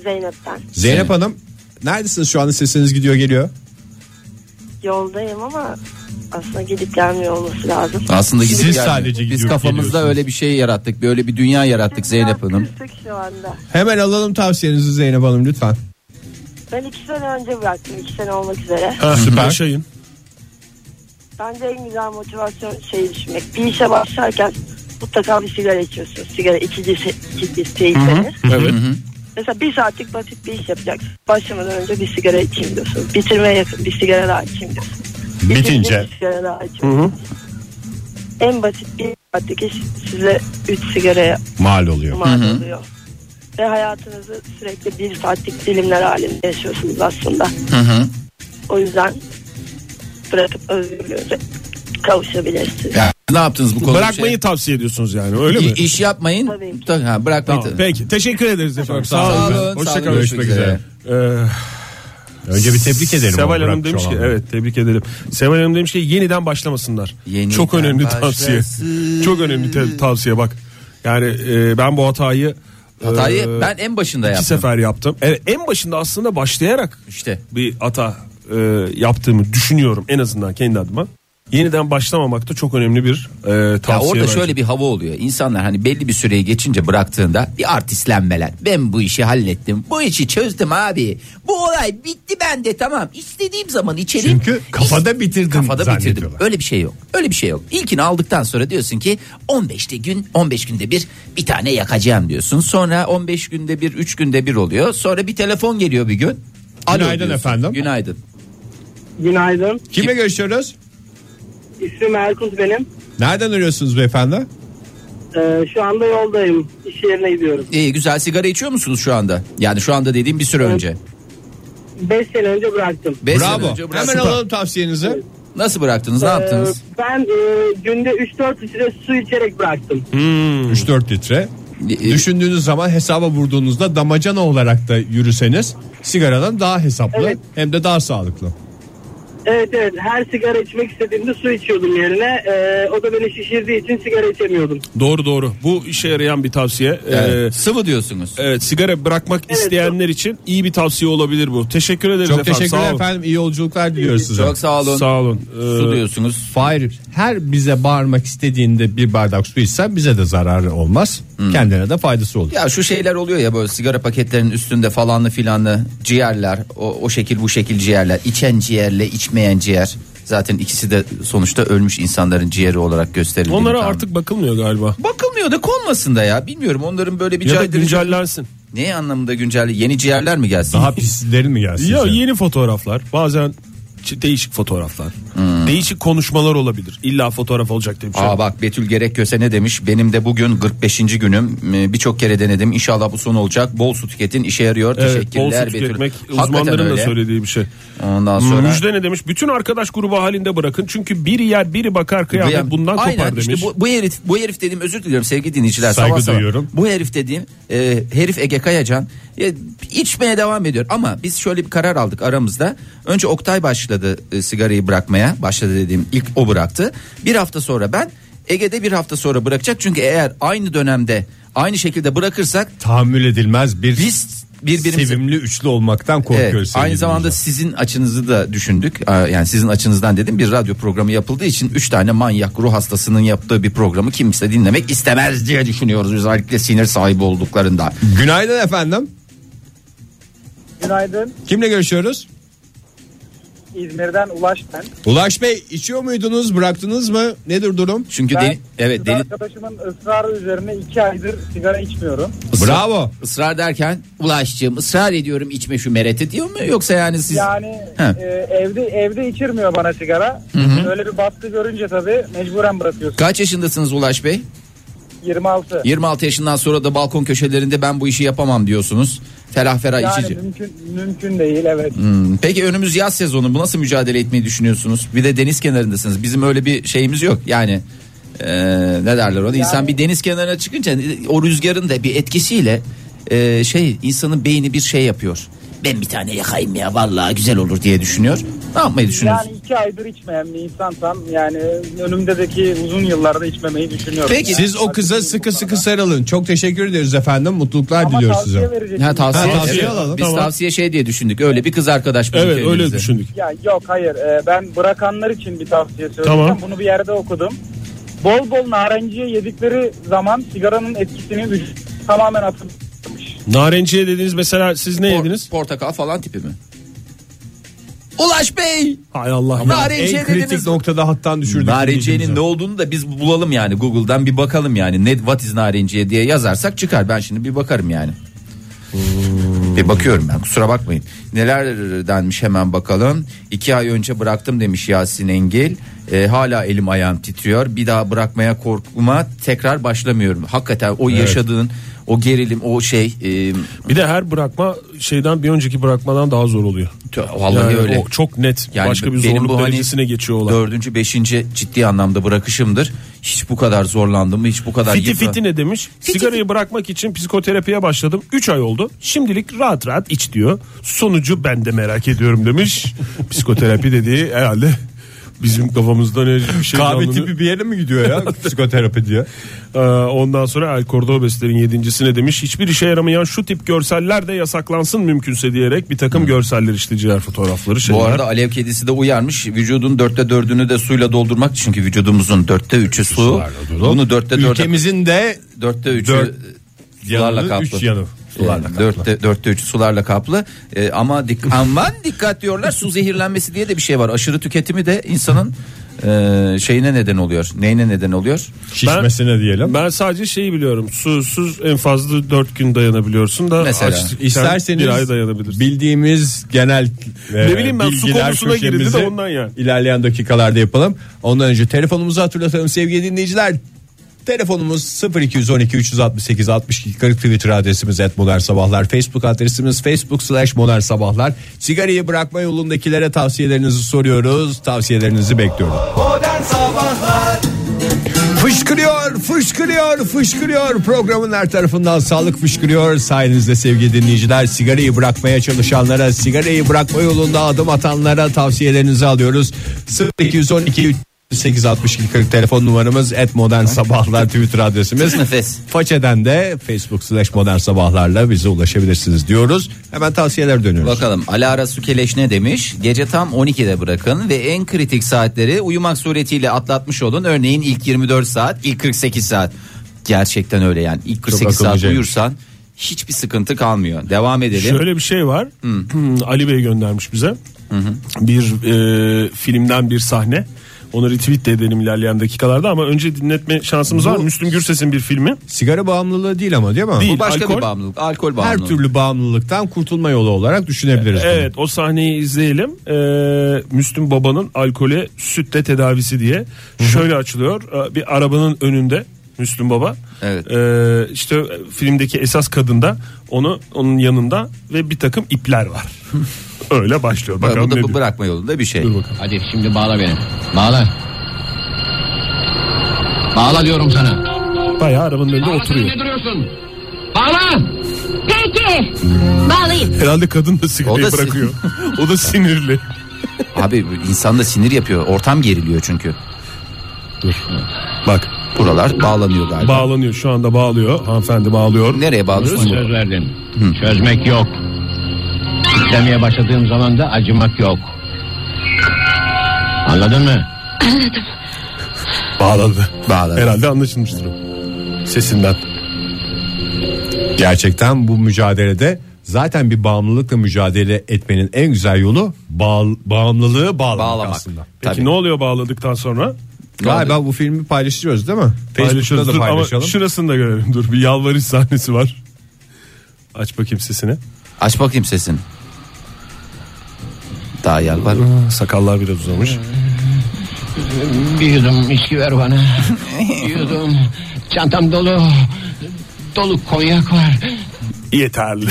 Zeynep'ten. Zeynep Zeynep. Hanım. Neredesiniz şu anda sesiniz gidiyor geliyor. Yoldayım ama aslında gidip gelmiyor olması lazım. Aslında gidip Siz gelmiyor. sadece biz gidiyor, kafamızda geliyorsunuz. öyle bir şey yarattık. Böyle bir dünya yarattık Zeynep Hanım. Kırtık şu anda. Hemen alalım tavsiyenizi Zeynep Hanım lütfen. Ben iki sene önce bıraktım. iki sene olmak üzere. Ha, Süper. Yaşayın. Bence en güzel motivasyon şeyi düşünmek. Bir işe başlarken mutlaka bir sigara içiyorsunuz. Sigara ikincisi, ikincisi içenir. Evet. Mesela bir saatlik basit bir iş yapacaksın. Başlamadan önce bir sigara içeyim diyorsun. Bitirmeye yakın bir sigara daha içeyim diyorsun. Bitirdiğinde Bitince. Bir sigara daha içeyim. En basit bir saatlik iş size 3 sigaraya Mal oluyor. mal oluyor. Ve hayatınızı sürekli bir saatlik dilimler halinde yaşıyorsunuz aslında. O yüzden bırakıp özgürlüğünüze kavuşabilirsiniz. Ya, ne yaptınız bu konuda? Bırakmayı Şey- tavsiye ediyorsunuz yani öyle mi? İ- İş yapmayın. Tabii ki. Ta- Ha, bırakmayı. Tamam, peki teşekkür ederiz efendim. Sağ, sağ olun. olun, Hoşça sağ olun, kalın. görüşmek üzere. Ee, Önce bir tebrik edelim. Seval onu Hanım bırakmış demiş ki olanları. evet tebrik edelim. Seval Hanım demiş ki yeniden başlamasınlar. Yeniden Çok önemli tavsiye. başlasın. Çok önemli te- tavsiye bak. Yani e, ben bu hatayı Hatayı Ee, e, ben en başında iki yaptım. sefer yaptım. Evet, en başında aslında başlayarak İşte. bir hata e, yaptığımı düşünüyorum en azından kendi adıma. Yeniden başlamamak da çok önemli bir e, tavsiye. Ya orada bence. şöyle bir hava oluyor. İnsanlar hani belli bir süreyi geçince bıraktığında bir artistlenmeler. Ben bu işi hallettim. Bu işi çözdüm abi. Bu olay bitti bende tamam. İstediğim zaman içeri Çünkü kafada bitirdim kafada bitirdim. zannediyorlar. Öyle bir şey yok. Öyle bir şey yok. İlkini aldıktan sonra diyorsun ki 15'te gün 15 günde bir bir tane yakacağım diyorsun. Sonra 15 günde bir 3 günde bir oluyor. Sonra bir telefon geliyor bir gün. Alo Günaydın efendim. Günaydın. Günaydın. Kimle görüşüyoruz? İsmim Erkut benim. E, Nereden arıyorsunuz beyefendi? şu anda yoldayım. İş yerine gidiyorum. İyi güzel sigara içiyor musunuz şu anda? Yani şu anda dediğim bir süre önce. 5 sene önce bıraktım. Beş sene Bravo. önce Hemen bıraktınız. alalım tavsiyenizi. Nasıl bıraktınız? Ne yaptınız? Ben e, günde 3-4 litre su içerek bıraktım. 3-4 litre. Ee, Düşündüğünüz zaman hesaba vurduğunuzda damacana olarak da yürüseniz sigaradan daha hesaplı Evet. hem de daha sağlıklı. Evet evet her sigara içmek istediğimde su içiyordum yerine. Ee, o da beni şişirdiği için sigara içemiyordum. Doğru doğru. Bu işe yarayan bir tavsiye. Ee, Evet. e, Sıvı diyorsunuz. Evet sigara bırakmak isteyenler için iyi bir tavsiye olabilir bu. Teşekkür ederiz Çok efendim. teşekkürler Sağ olun. efendim. İyi yolculuklar diliyoruz size. Çok sağ olun. Sağ olun. Su Ee, diyorsunuz. Fahir her bize bağırmak istediğinde bir bardak su içsen bize de zararı olmaz. Kendine de faydası olur. Ya şu şeyler oluyor ya böyle sigara paketlerinin üstünde falanlı filanlı ciğerler. O, o şekil bu şekil ciğerler. İçen ciğerle içmeyen ciğer. Zaten ikisi de sonuçta ölmüş insanların ciğeri olarak gösterildiğini Onlara tahmin- artık bakılmıyor galiba. Bakılmıyor da konmasın da ya. Bilmiyorum onların böyle bir Ya da caydırıcı... güncellensin. Ne anlamında güncel? Yeni ciğerler mi gelsin? Daha pislerin mi gelsin? Ya size? yeni fotoğraflar bazen ç- değişik fotoğraflar. Hmm. Değişik konuşmalar olabilir. İlla fotoğraf olacak diye bir şey. Aa yok. bak Betül Gerekköse ne demiş? Benim de bugün 45. günüm. Ee, Birçok kere denedim. İnşallah bu son olacak. Bol su tüketin işe yarıyor. Evet, bol Teşekkürler su Betül. tüketmek Hakikaten uzmanların da öyle. söylediği bir şey. Ondan sonra Müjde ne demiş? Bütün arkadaş grubu halinde bırakın. Çünkü biri yer biri bakar kıyamet Aynen, bundan kopar aynen, demiş. işte bu, bu herif bu herif dediğim özür diliyorum sevgili dinleyiciler. Saygı sabah sabah. duyuyorum. Bu herif dediğim e, herif Ege Kayacan e, içmeye devam ediyor ama biz şöyle bir karar aldık aramızda. Önce Oktay başladı e, sigarayı bırakmaya. Başladı dediğim ilk o bıraktı. Bir hafta sonra ben Ege'de bir hafta sonra bırakacak. Çünkü eğer aynı dönemde aynı şekilde bırakırsak Tahammül edilmez bir biz birbirimizi sevimli üçlü olmaktan Evet, korkuyoruz. sevgili aynı zamanda dinleyiciler. sizin açınızı da düşündük. Ee, Yani sizin açınızdan dedim bir radyo programı yapıldığı için 3 tane manyak ruh hastasının yaptığı bir programı kimse dinlemek istemez diye düşünüyoruz. Özellikle sinir sahibi olduklarında. Günaydın efendim. Günaydın. Kimle görüşüyoruz? İzmir'den Ulaş ben. Ulaş Bey içiyor muydunuz bıraktınız mı? Nedir durum? Çünkü Ben deli- evet kız deli arkadaşımın ısrarı üzerine iki aydır sigara içmiyorum. Bravo. ısrar derken ulaştığım ısrar ediyorum içme şu mereti diyor mu yoksa yani siz Yani He. e, evde evde içirmiyor bana sigara. Öyle bir baskı görünce tabii mecburen bırakıyorsun. kaç yaşındasınız Ulaş Bey? 26. 26 yaşından sonra da balkon köşelerinde ben bu işi yapamam diyorsunuz. Ferah ferah Yani içici. mümkün mümkün değil evet. Hmm, Peki önümüz yaz sezonu bu nasıl mücadele etmeyi düşünüyorsunuz? Bir de deniz kenarındasınız. Bizim öyle bir şeyimiz yok. Yani e, ne derler ona? İnsan bir deniz kenarına çıkınca o rüzgarın da bir etkisiyle e, şey insanın beyni bir şey yapıyor. Ben bir tane yakayım ya vallahi güzel olur diye düşünüyor. Ne yapmayı düşünüyorsun? Yani iki aydır içmeyen bir insansam yani önümdeki uzun yıllarda içmemeyi düşünüyorum. Peki, Yani Siz o artık kıza bu sıkı sıkı konuda. sarılın. Çok teşekkür ederiz efendim. Mutluluklar Ama diliyoruz tavsiye size. verecek Ha, tavsiye, Ha, tavsiye evet. alalım, Biz tamam. tavsiye şey diye düşündük. Öyle bir kız arkadaş bulduk Evet öyle elimize. düşündük. Ya yok hayır e, ben bırakanlar için bir tavsiye söyleyeceğim. Tamam. Bunu bir yerde okudum. Bol bol narenciye yedikleri zaman sigaranın etkisini vücut tamamen atılmış. Narenciye dediniz mesela siz ne Por- yediniz? Portakal falan tipi mi? Ulaş Bey! Hay Allah. ya. Narenciye en kritik dediniz. noktada hattan düşürdük. Narenciyenin ne olduğunu da biz bulalım yani Google'dan bir bakalım yani. Ne what is narenciye diye yazarsak çıkar. Ben şimdi bir bakarım yani. Hmm. Bir bakıyorum ben kusura bakmayın. Neler denmiş hemen bakalım. İki ay önce bıraktım demiş Yasin Engil. E, hala elim ayağım titriyor. Bir daha bırakmaya korkuma tekrar başlamıyorum. Hakikaten o yaşadığın o gerilim o şey e, Bir de her bırakma şeyden bir önceki bırakmadan daha zor oluyor. tö- vallahi Yani öyle. o çok net Yani başka bir benim zorluk bu hani derecesine geçiyor olan. Dördüncü, beşinci ciddi anlamda bırakışımdır. Hiç bu kadar zorlandım mı? Hiç bu kadar Fiti yıpra- fiti ne demiş? Sigarayı bırakmak için psikoterapiye başladım. 3 ay oldu. Şimdilik rahat rahat iç diyor. Sonucu ben de merak ediyorum demiş. Psikoterapi dediği herhalde bizim kafamızdan öyle bir şey Kahve canlanıyor. tipi bir yere mi gidiyor ya psikoterapi diye? Ee, ondan sonra El Cordobes'lerin yedincisi ne demiş? Hiçbir işe yaramayan şu tip görseller de yasaklansın mümkünse diyerek bir takım görseller işte ciğer fotoğrafları şeyler. Bu arada alev kedisi de uyarmış. Vücudun dörtte dördünü de suyla doldurmak. Çünkü vücudumuzun dörtte üçü su. Bunu dörtte dörde... Ülkemizin de Dörtte üçü Dört sularla yanı, kaplı. üç yanı sularla Yani Dörtte, dörtte üçü sularla kaplı. Ee, ama dik aman dikkat diyorlar. Su zehirlenmesi diye de bir şey var. Aşırı tüketimi de insanın e, şeyine neden oluyor. Neyine neden oluyor? şişmesine diyelim. Ben sadece şeyi biliyorum. Susuz en fazla 4 gün dayanabiliyorsun da Mesela. açlıkken İsterseniz bir ay dayanabilirsin. bildiğimiz genel e, Ne bileyim ben, su bilgiler konusuna girildi de köşemizi ondan yani. ilerleyen dakikalarda yapalım. Ondan önce telefonumuzu hatırlatalım sevgili dinleyiciler. Telefonumuz 0212 368 62 40 Twitter adresimiz et sabahlar Facebook adresimiz facebook slash modern sabahlar Sigarayı bırakma yolundakilere tavsiyelerinizi soruyoruz Tavsiyelerinizi bekliyoruz Modern Sabahlar Fışkırıyor, fışkırıyor, fışkırıyor. Programın her tarafından sağlık fışkırıyor. Sayenizde sevgili dinleyiciler sigarayı bırakmaya çalışanlara, sigarayı bırakma yolunda adım atanlara tavsiyelerinizi alıyoruz. 0212 862 40 telefon numaramız et modern sabahlar twitter adresimiz Nefes. façeden de facebook slash modern sabahlarla bize ulaşabilirsiniz diyoruz hemen tavsiyeler dönüyoruz Bakalım Alara Sükeleş ne demiş? Gece tam 12'de bırakın ve en kritik saatleri uyumak suretiyle atlatmış olun. Örneğin ilk 24 saat, ilk 48 saat. Gerçekten öyle yani. İlk 48 saat akıllıcaymış. uyursan hiçbir sıkıntı kalmıyor. Devam edelim. Şöyle bir şey var. Ali Bey göndermiş bize. Bir e, filmden bir sahne. Onu retweet de edelim ilerleyen dakikalarda ama önce dinletme şansımız var. Müslüm Gürses'in bir filmi. sigara bağımlılığı değil ama değil mi Değil. Bu başka alkol- bir bağımlılık. Alkol her bağımlılığı. türlü bağımlılıktan kurtulma yolu olarak düşünebiliriz bunu. E, Evet o sahneyi izleyelim. Ee, Müslüm Baba'nın alkole sütle tedavisi diye. Şöyle açılıyor. Ee, Bir arabanın önünde Müslüm Baba. Evet. Ee, işte filmdeki esas kadın da onu onun yanında ve bir takım ipler var. Öyle başlıyor. Ee, Bu Bakalım da ne bu diyor. bırakma yolunda bir şey. Hadi şimdi bağla beni. Bağla. Bağla diyorum sana. Bayağı arabanın önünde Bağla oturuyor. Ne duruyorsun? Bağla. Peki. Bağlayayım. Herhalde kadın da sigarayı O da sin- bırakıyor. o da sinirli. Abi bu insan da sinir yapıyor. Ortam geriliyor çünkü. Bak Buralar bağlanıyor galiba. bağlanıyor şu anda bağlıyor. Hanımefendi bağlıyor. Nereye bağlıyorsun? Söz verdin. Çözmek yok. İstemeye başladığım zaman da acımak yok. Anladın mı? Bağladı. Bağladı. Herhalde anlaşılmıştır. o. Sesinden. Gerçekten bu mücadelede zaten bir bağımlılıkla mücadele etmenin en güzel yolu bağ- bağımlılığı bağlamak, Bağlamak. aslında. Peki Tabii. ne oluyor bağladıktan sonra? Galiba bu filmi paylaşıyoruz değil mi? Facebook'ta Paylaşıyoruz. da Dur, ama paylaşalım. şurasını da görelim. Dur bir yalvarış sahnesi var. Aç bakayım sesini. Aç bakayım sesini. Daha yalvar. Sakallar biraz uzamış. Bir yudum içki ver bana. Bir yudum. Çantam dolu. Dolu konyak var. Yeterli.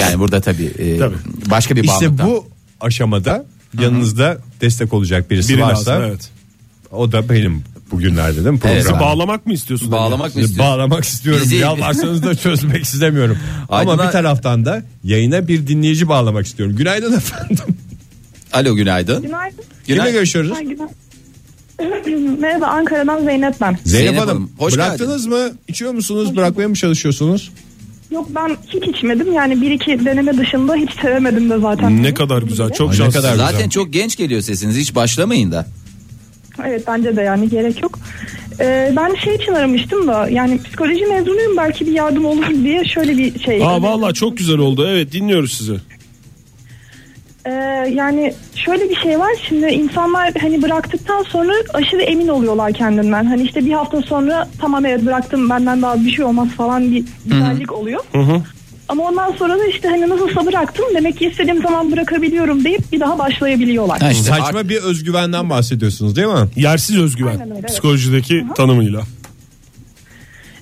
Yani burada tabii, e, Tabii. başka bir bağımlılık. İşte bu aşamada yanınızda destek olacak birisi Biri varsa lazım evet. o da benim bugünlerde değil mi Evet. programda? Bağlamak mı istiyorsun? Bağlamak mı istiyorsun? Bağlamak istiyorum. Bizi- Yalvarsanız da çözmek istemiyorum. Ama Aydın'a- bir taraftan da yayına bir dinleyici bağlamak istiyorum. Günaydın efendim. Alo günaydın. Günaydın. Kimle Günaydın. görüşüyoruz? Günaydın. Merhaba Ankara'dan Zeynep ben. Zeynep, Zeynep Hanım, Hanım, hoş bıraktınız mı? İçiyor musunuz? Bırakmaya mı çalışıyorsunuz? Yok ben hiç içmedim yani bir iki deneme dışında hiç sevemedim de zaten. Ne kadar güzel. Çok Ay, ne şanslı. kadar güzel. Zaten çok genç geliyor sesiniz. Hiç başlamayın da. Evet bence de yani gerek yok. Ee, ben şey için aramıştım da yani psikoloji mezunuyum belki bir yardım olur diye şöyle bir şey. Aa vallahi çok güzel oldu. Evet dinliyoruz sizi. Ee, yani şöyle bir şey var şimdi insanlar hani bıraktıktan sonra aşırı emin oluyorlar kendinden. Hani işte bir hafta sonra tamam evet bıraktım benden daha bir şey olmaz falan bir güzellik oluyor. Ama ondan sonra da işte hani nasılsa bıraktım demek ki istediğim zaman bırakabiliyorum deyip bir daha başlayabiliyorlar. Saçma bir özgüvenden bahsediyorsunuz değil mi? Yersiz özgüven. Aynen öyle, evet. Psikolojideki tanımıyla.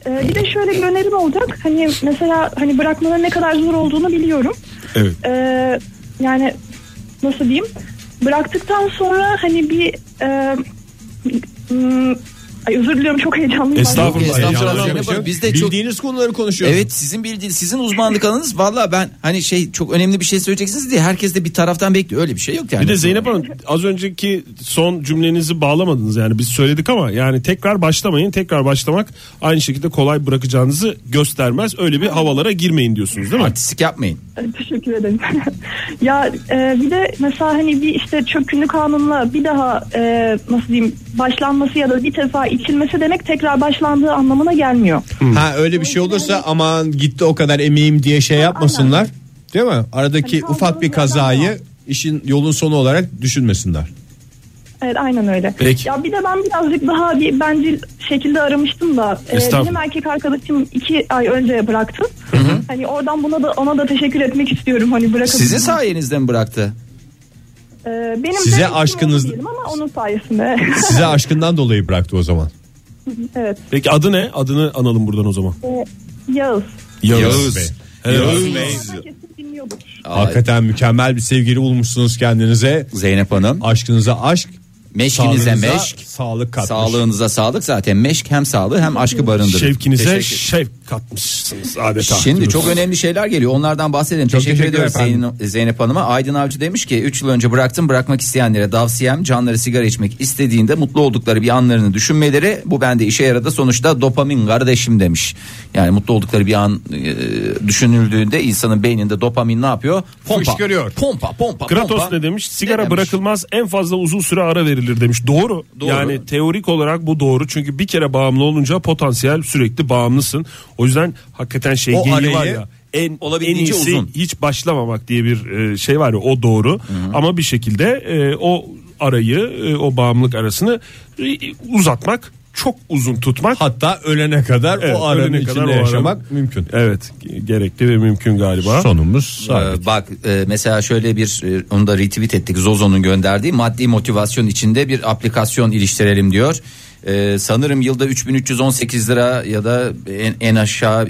Ee, bir de şöyle bir önerim olacak. Hani mesela hani bırakmanın ne kadar zor olduğunu biliyorum. Evet. Ee, yani nasıl diyeyim? Bıraktıktan sonra hani bir e, m- ay özür diliyorum çok heyecanlıyım. Estağfurullah, Aslında. estağfurullah. Ne var? şey. Biz de çok- Bildiğiniz konuları konuşuyoruz. Evet sizin bildiğiniz sizin uzmanlık alanınız valla ben hani şey çok önemli bir şey söyleyeceksiniz diye herkes de bir taraftan bekliyor öyle bir şey yok yani. Bir de Zeynep Hanım az önceki son cümlenizi bağlamadınız yani biz söyledik ama yani tekrar başlamayın tekrar başlamak aynı şekilde kolay bırakacağınızı göstermez öyle bir havalara girmeyin diyorsunuz değil mi? Artistik yapmayın. Hani Teşekkür ederim. ya e, bir de mesela hani bir işte çökünlü kanunla bir daha e, nasıl diyeyim başlanması ya da bir defa içilmesi demek tekrar başlandığı anlamına gelmiyor. Ha öyle bir şey olursa aman gitti o kadar emeğim diye şey yapmasınlar. Değil mi? Aradaki Hani ufak bir kazayı işin yolun sonu olarak düşünmesinler. Evet aynen öyle. Peki. Ya bir de ben birazcık daha bir bencil şekilde aramıştım da e, Estağfurullah. benim erkek arkadaşım iki ay önce bıraktı. Hani oradan buna da ona da teşekkür etmek istiyorum hani bırakabildim. Sizin sayenizde mi bıraktı? E, benim Size de aşkınız- diyelim ama onun sayesinde. Size aşkından dolayı bıraktı o zaman. evet. Peki adı ne? Adını analım buradan o zaman. E, Yağız. Yağız, Yağız Bey. Bey. Yağız Bey. Hakikaten mükemmel bir sevgili bulmuşsunuz kendinize. Zeynep Hanım. Aşkınıza aşk. Meşkinize sağlığınıza meşk. Sağlık katmış. Sağlığınıza sağlık zaten meşk hem sağlığı hem aşkı barındırır. Şevkinize Teşekkür- şevk katmışsınız adeta. Şimdi çok önemli şeyler geliyor. Onlardan bahsedelim. teşekkür, teşekkür ediyoruz efendim. Zeyn- Zeynep Hanım'a. Aydın Avcı demiş ki 3 yıl önce bıraktım. Bırakmak isteyenlere tavsiyem canları sigara içmek istediğinde mutlu oldukları bir anlarını düşünmeleri. Bu bende işe yaradı. Sonuçta dopamin kardeşim demiş. Yani mutlu oldukları bir an e, düşünüldüğünde insanın beyninde dopamin ne yapıyor? Pompa. Fışkırıyor. Pompa pompa. Kratos pompa. ne demiş? Sigara Ne demiş? bırakılmaz en fazla uzun süre ara verilir demiş. Doğru. Doğru. Yani teorik olarak bu doğru. Çünkü bir kere bağımlı olunca potansiyel sürekli bağımlısın. O yüzden hakikaten şey O geyiği arayı var ya. En, en olabildiğince iyisi uzun. hiç başlamamak diye bir e, şey var ya o doğru. Ama bir şekilde e, o arayı e, o bağımlılık arasını e, uzatmak çok uzun tutmak. Hatta ölene kadar Evet, o aranın ölene içinde kadar o ara- yaşamak mümkün. Evet gerekli ve mümkün galiba. Sonumuz sabit. Ee, bak e, mesela şöyle bir e, onu da retweet ettik Zozo'nun gönderdiği maddi motivasyon içinde bir aplikasyon iliştirelim diyor. Ee, sanırım yılda 3318 lira ya da en, en aşağı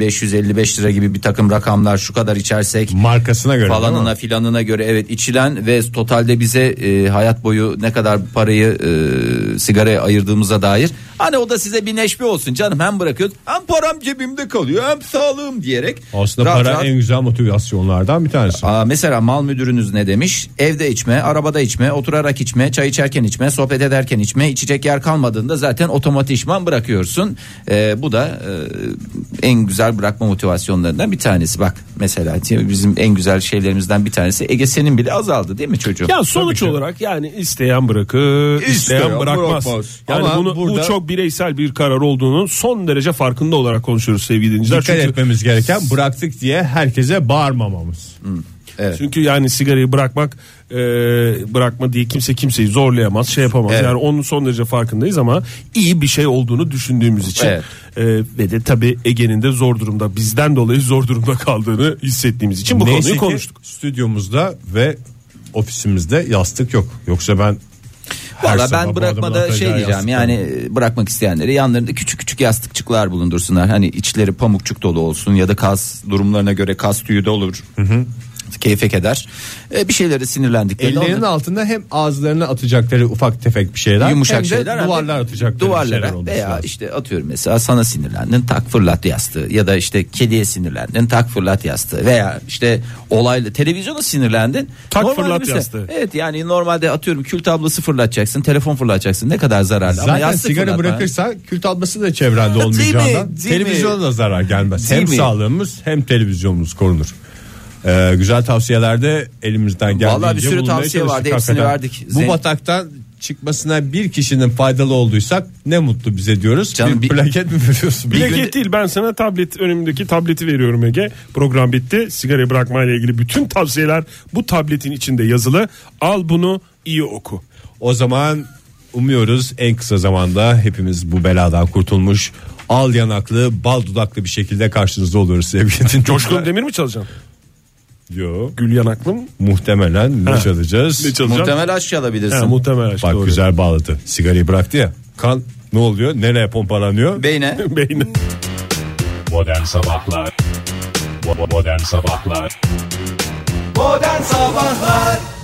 2555 lira gibi bir takım rakamlar şu kadar içersek Markasına göre. değil falanına mi? filanına göre evet içilen ve totalde bize e, hayat boyu ne kadar parayı e, sigaraya ayırdığımıza dair hani o da size bir neşbe olsun canım hem bırakıyoruz hem param cebimde kalıyor hem sağlığım diyerek Aslında Ee, rahat para rahat- en güzel motivasyonlardan bir tanesi. Aa, mesela mal müdürünüz ne demiş? Evde içme, arabada içme, oturarak içme, çay içerken içme, sohbet ederken içme, içecek yer kalmadığında zaten otomatikman bırakıyorsun. Ee, bu da e, en güzel bırakma motivasyonlarından bir tanesi. Bak mesela bizim en güzel şeylerimizden bir tanesi Ege senin bile azaldı değil mi çocuğum? Ya sonuç olarak yani isteyen bırakır, isteyen, İsteyen bırakmaz. bırakmaz. Yani Ama bunu burada- bu çok bireysel bir karar olduğunu son derece farkında olarak konuşuyoruz sevgili dinleyiciler. Dikkat Çünkü, etmemiz gereken bıraktık diye herkese bağırmamamız. çünkü yani sigarayı bırakmak e, bırakma diye kimse kimseyi zorlayamaz, şey yapamaz. Evet. Yani onun son derece farkındayız ama iyi bir şey olduğunu düşündüğümüz için Evet. E, ve de tabii Ege'nin de zor durumda bizden dolayı zor durumda kaldığını hissettiğimiz için bu Neyse konuyu ki konuştuk. Stüdyomuzda ve ofisimizde yastık yok. Yoksa ben her Valla sabah bu ben adamın bırakmada atacağı şey diyeceğim yastık yani bırakmak isteyenleri yanlarında küçük küçük yastıkçıklar bulundursunlar. Hani içleri pamukçuk dolu olsun ya da kas durumlarına göre kas tüyü de olur. Keyfek eder. Ee, bir şeylere sinirlendiklerinde Ellerinin onları- altında hem ağızlarına atacakları ufak tefek bir şeyler yumuşak hem de şeyler abi. duvarlar atacakları duvarlara şeyler olması veya lazım. işte atıyorum mesela sana sinirlendin tak fırlat yastığı ya da işte kediye sinirlendin tak fırlat yastığı veya işte olayla televizyona sinirlendin Tak Normalde fırlat mesela- yastığı. Evet yani normalde atıyorum kül tablası fırlatacaksın telefon fırlatacaksın ne kadar zararlı ama Zaten yastık sigara fırlatma- bırakırsa kül tablosu da çevrende olmayacağından değil mi? televizyona da zarar gelmez. Değil hem mi? sağlığımız hem televizyonumuz korunur. Ee, güzel tavsiyelerde elimizden geldiğince Vallahi bir sürü bulunmaya tavsiye vardı, çalıştık hepsini hakikaten. verdik. Bu Zen- bataktan çıkmasına bir kişinin faydalı olduysak ne mutlu bize diyoruz. Canım bir bir- plaket mi veriyorsun? Bir Plaket değil ben sana tablet önümdeki tableti veriyorum Ege. Program bitti. Sigara bırakmayla ilgili bütün tavsiyeler bu tabletin içinde yazılı. Al bunu iyi oku. O zaman umuyoruz en kısa zamanda hepimiz bu beladan kurtulmuş al yanaklı bal dudaklı bir şekilde karşınızda oluyoruz sevgili dinleyiciler. Coşkun Demir mi çalacaksın? Yo. Gül yanaklı mı? Muhtemelen ne Ha. çalacağız? Ne çalacağım? Muhtemel aşk çalabilirsin. Ha, muhtemel aşk, Bak doğru. güzel bağladı. Sigarayı bıraktı ya. Kan ne oluyor? Nereye pompalanıyor? Beyne. Beyne. Modern Sabahlar Bo- bo- Modern Sabahlar Modern Sabahlar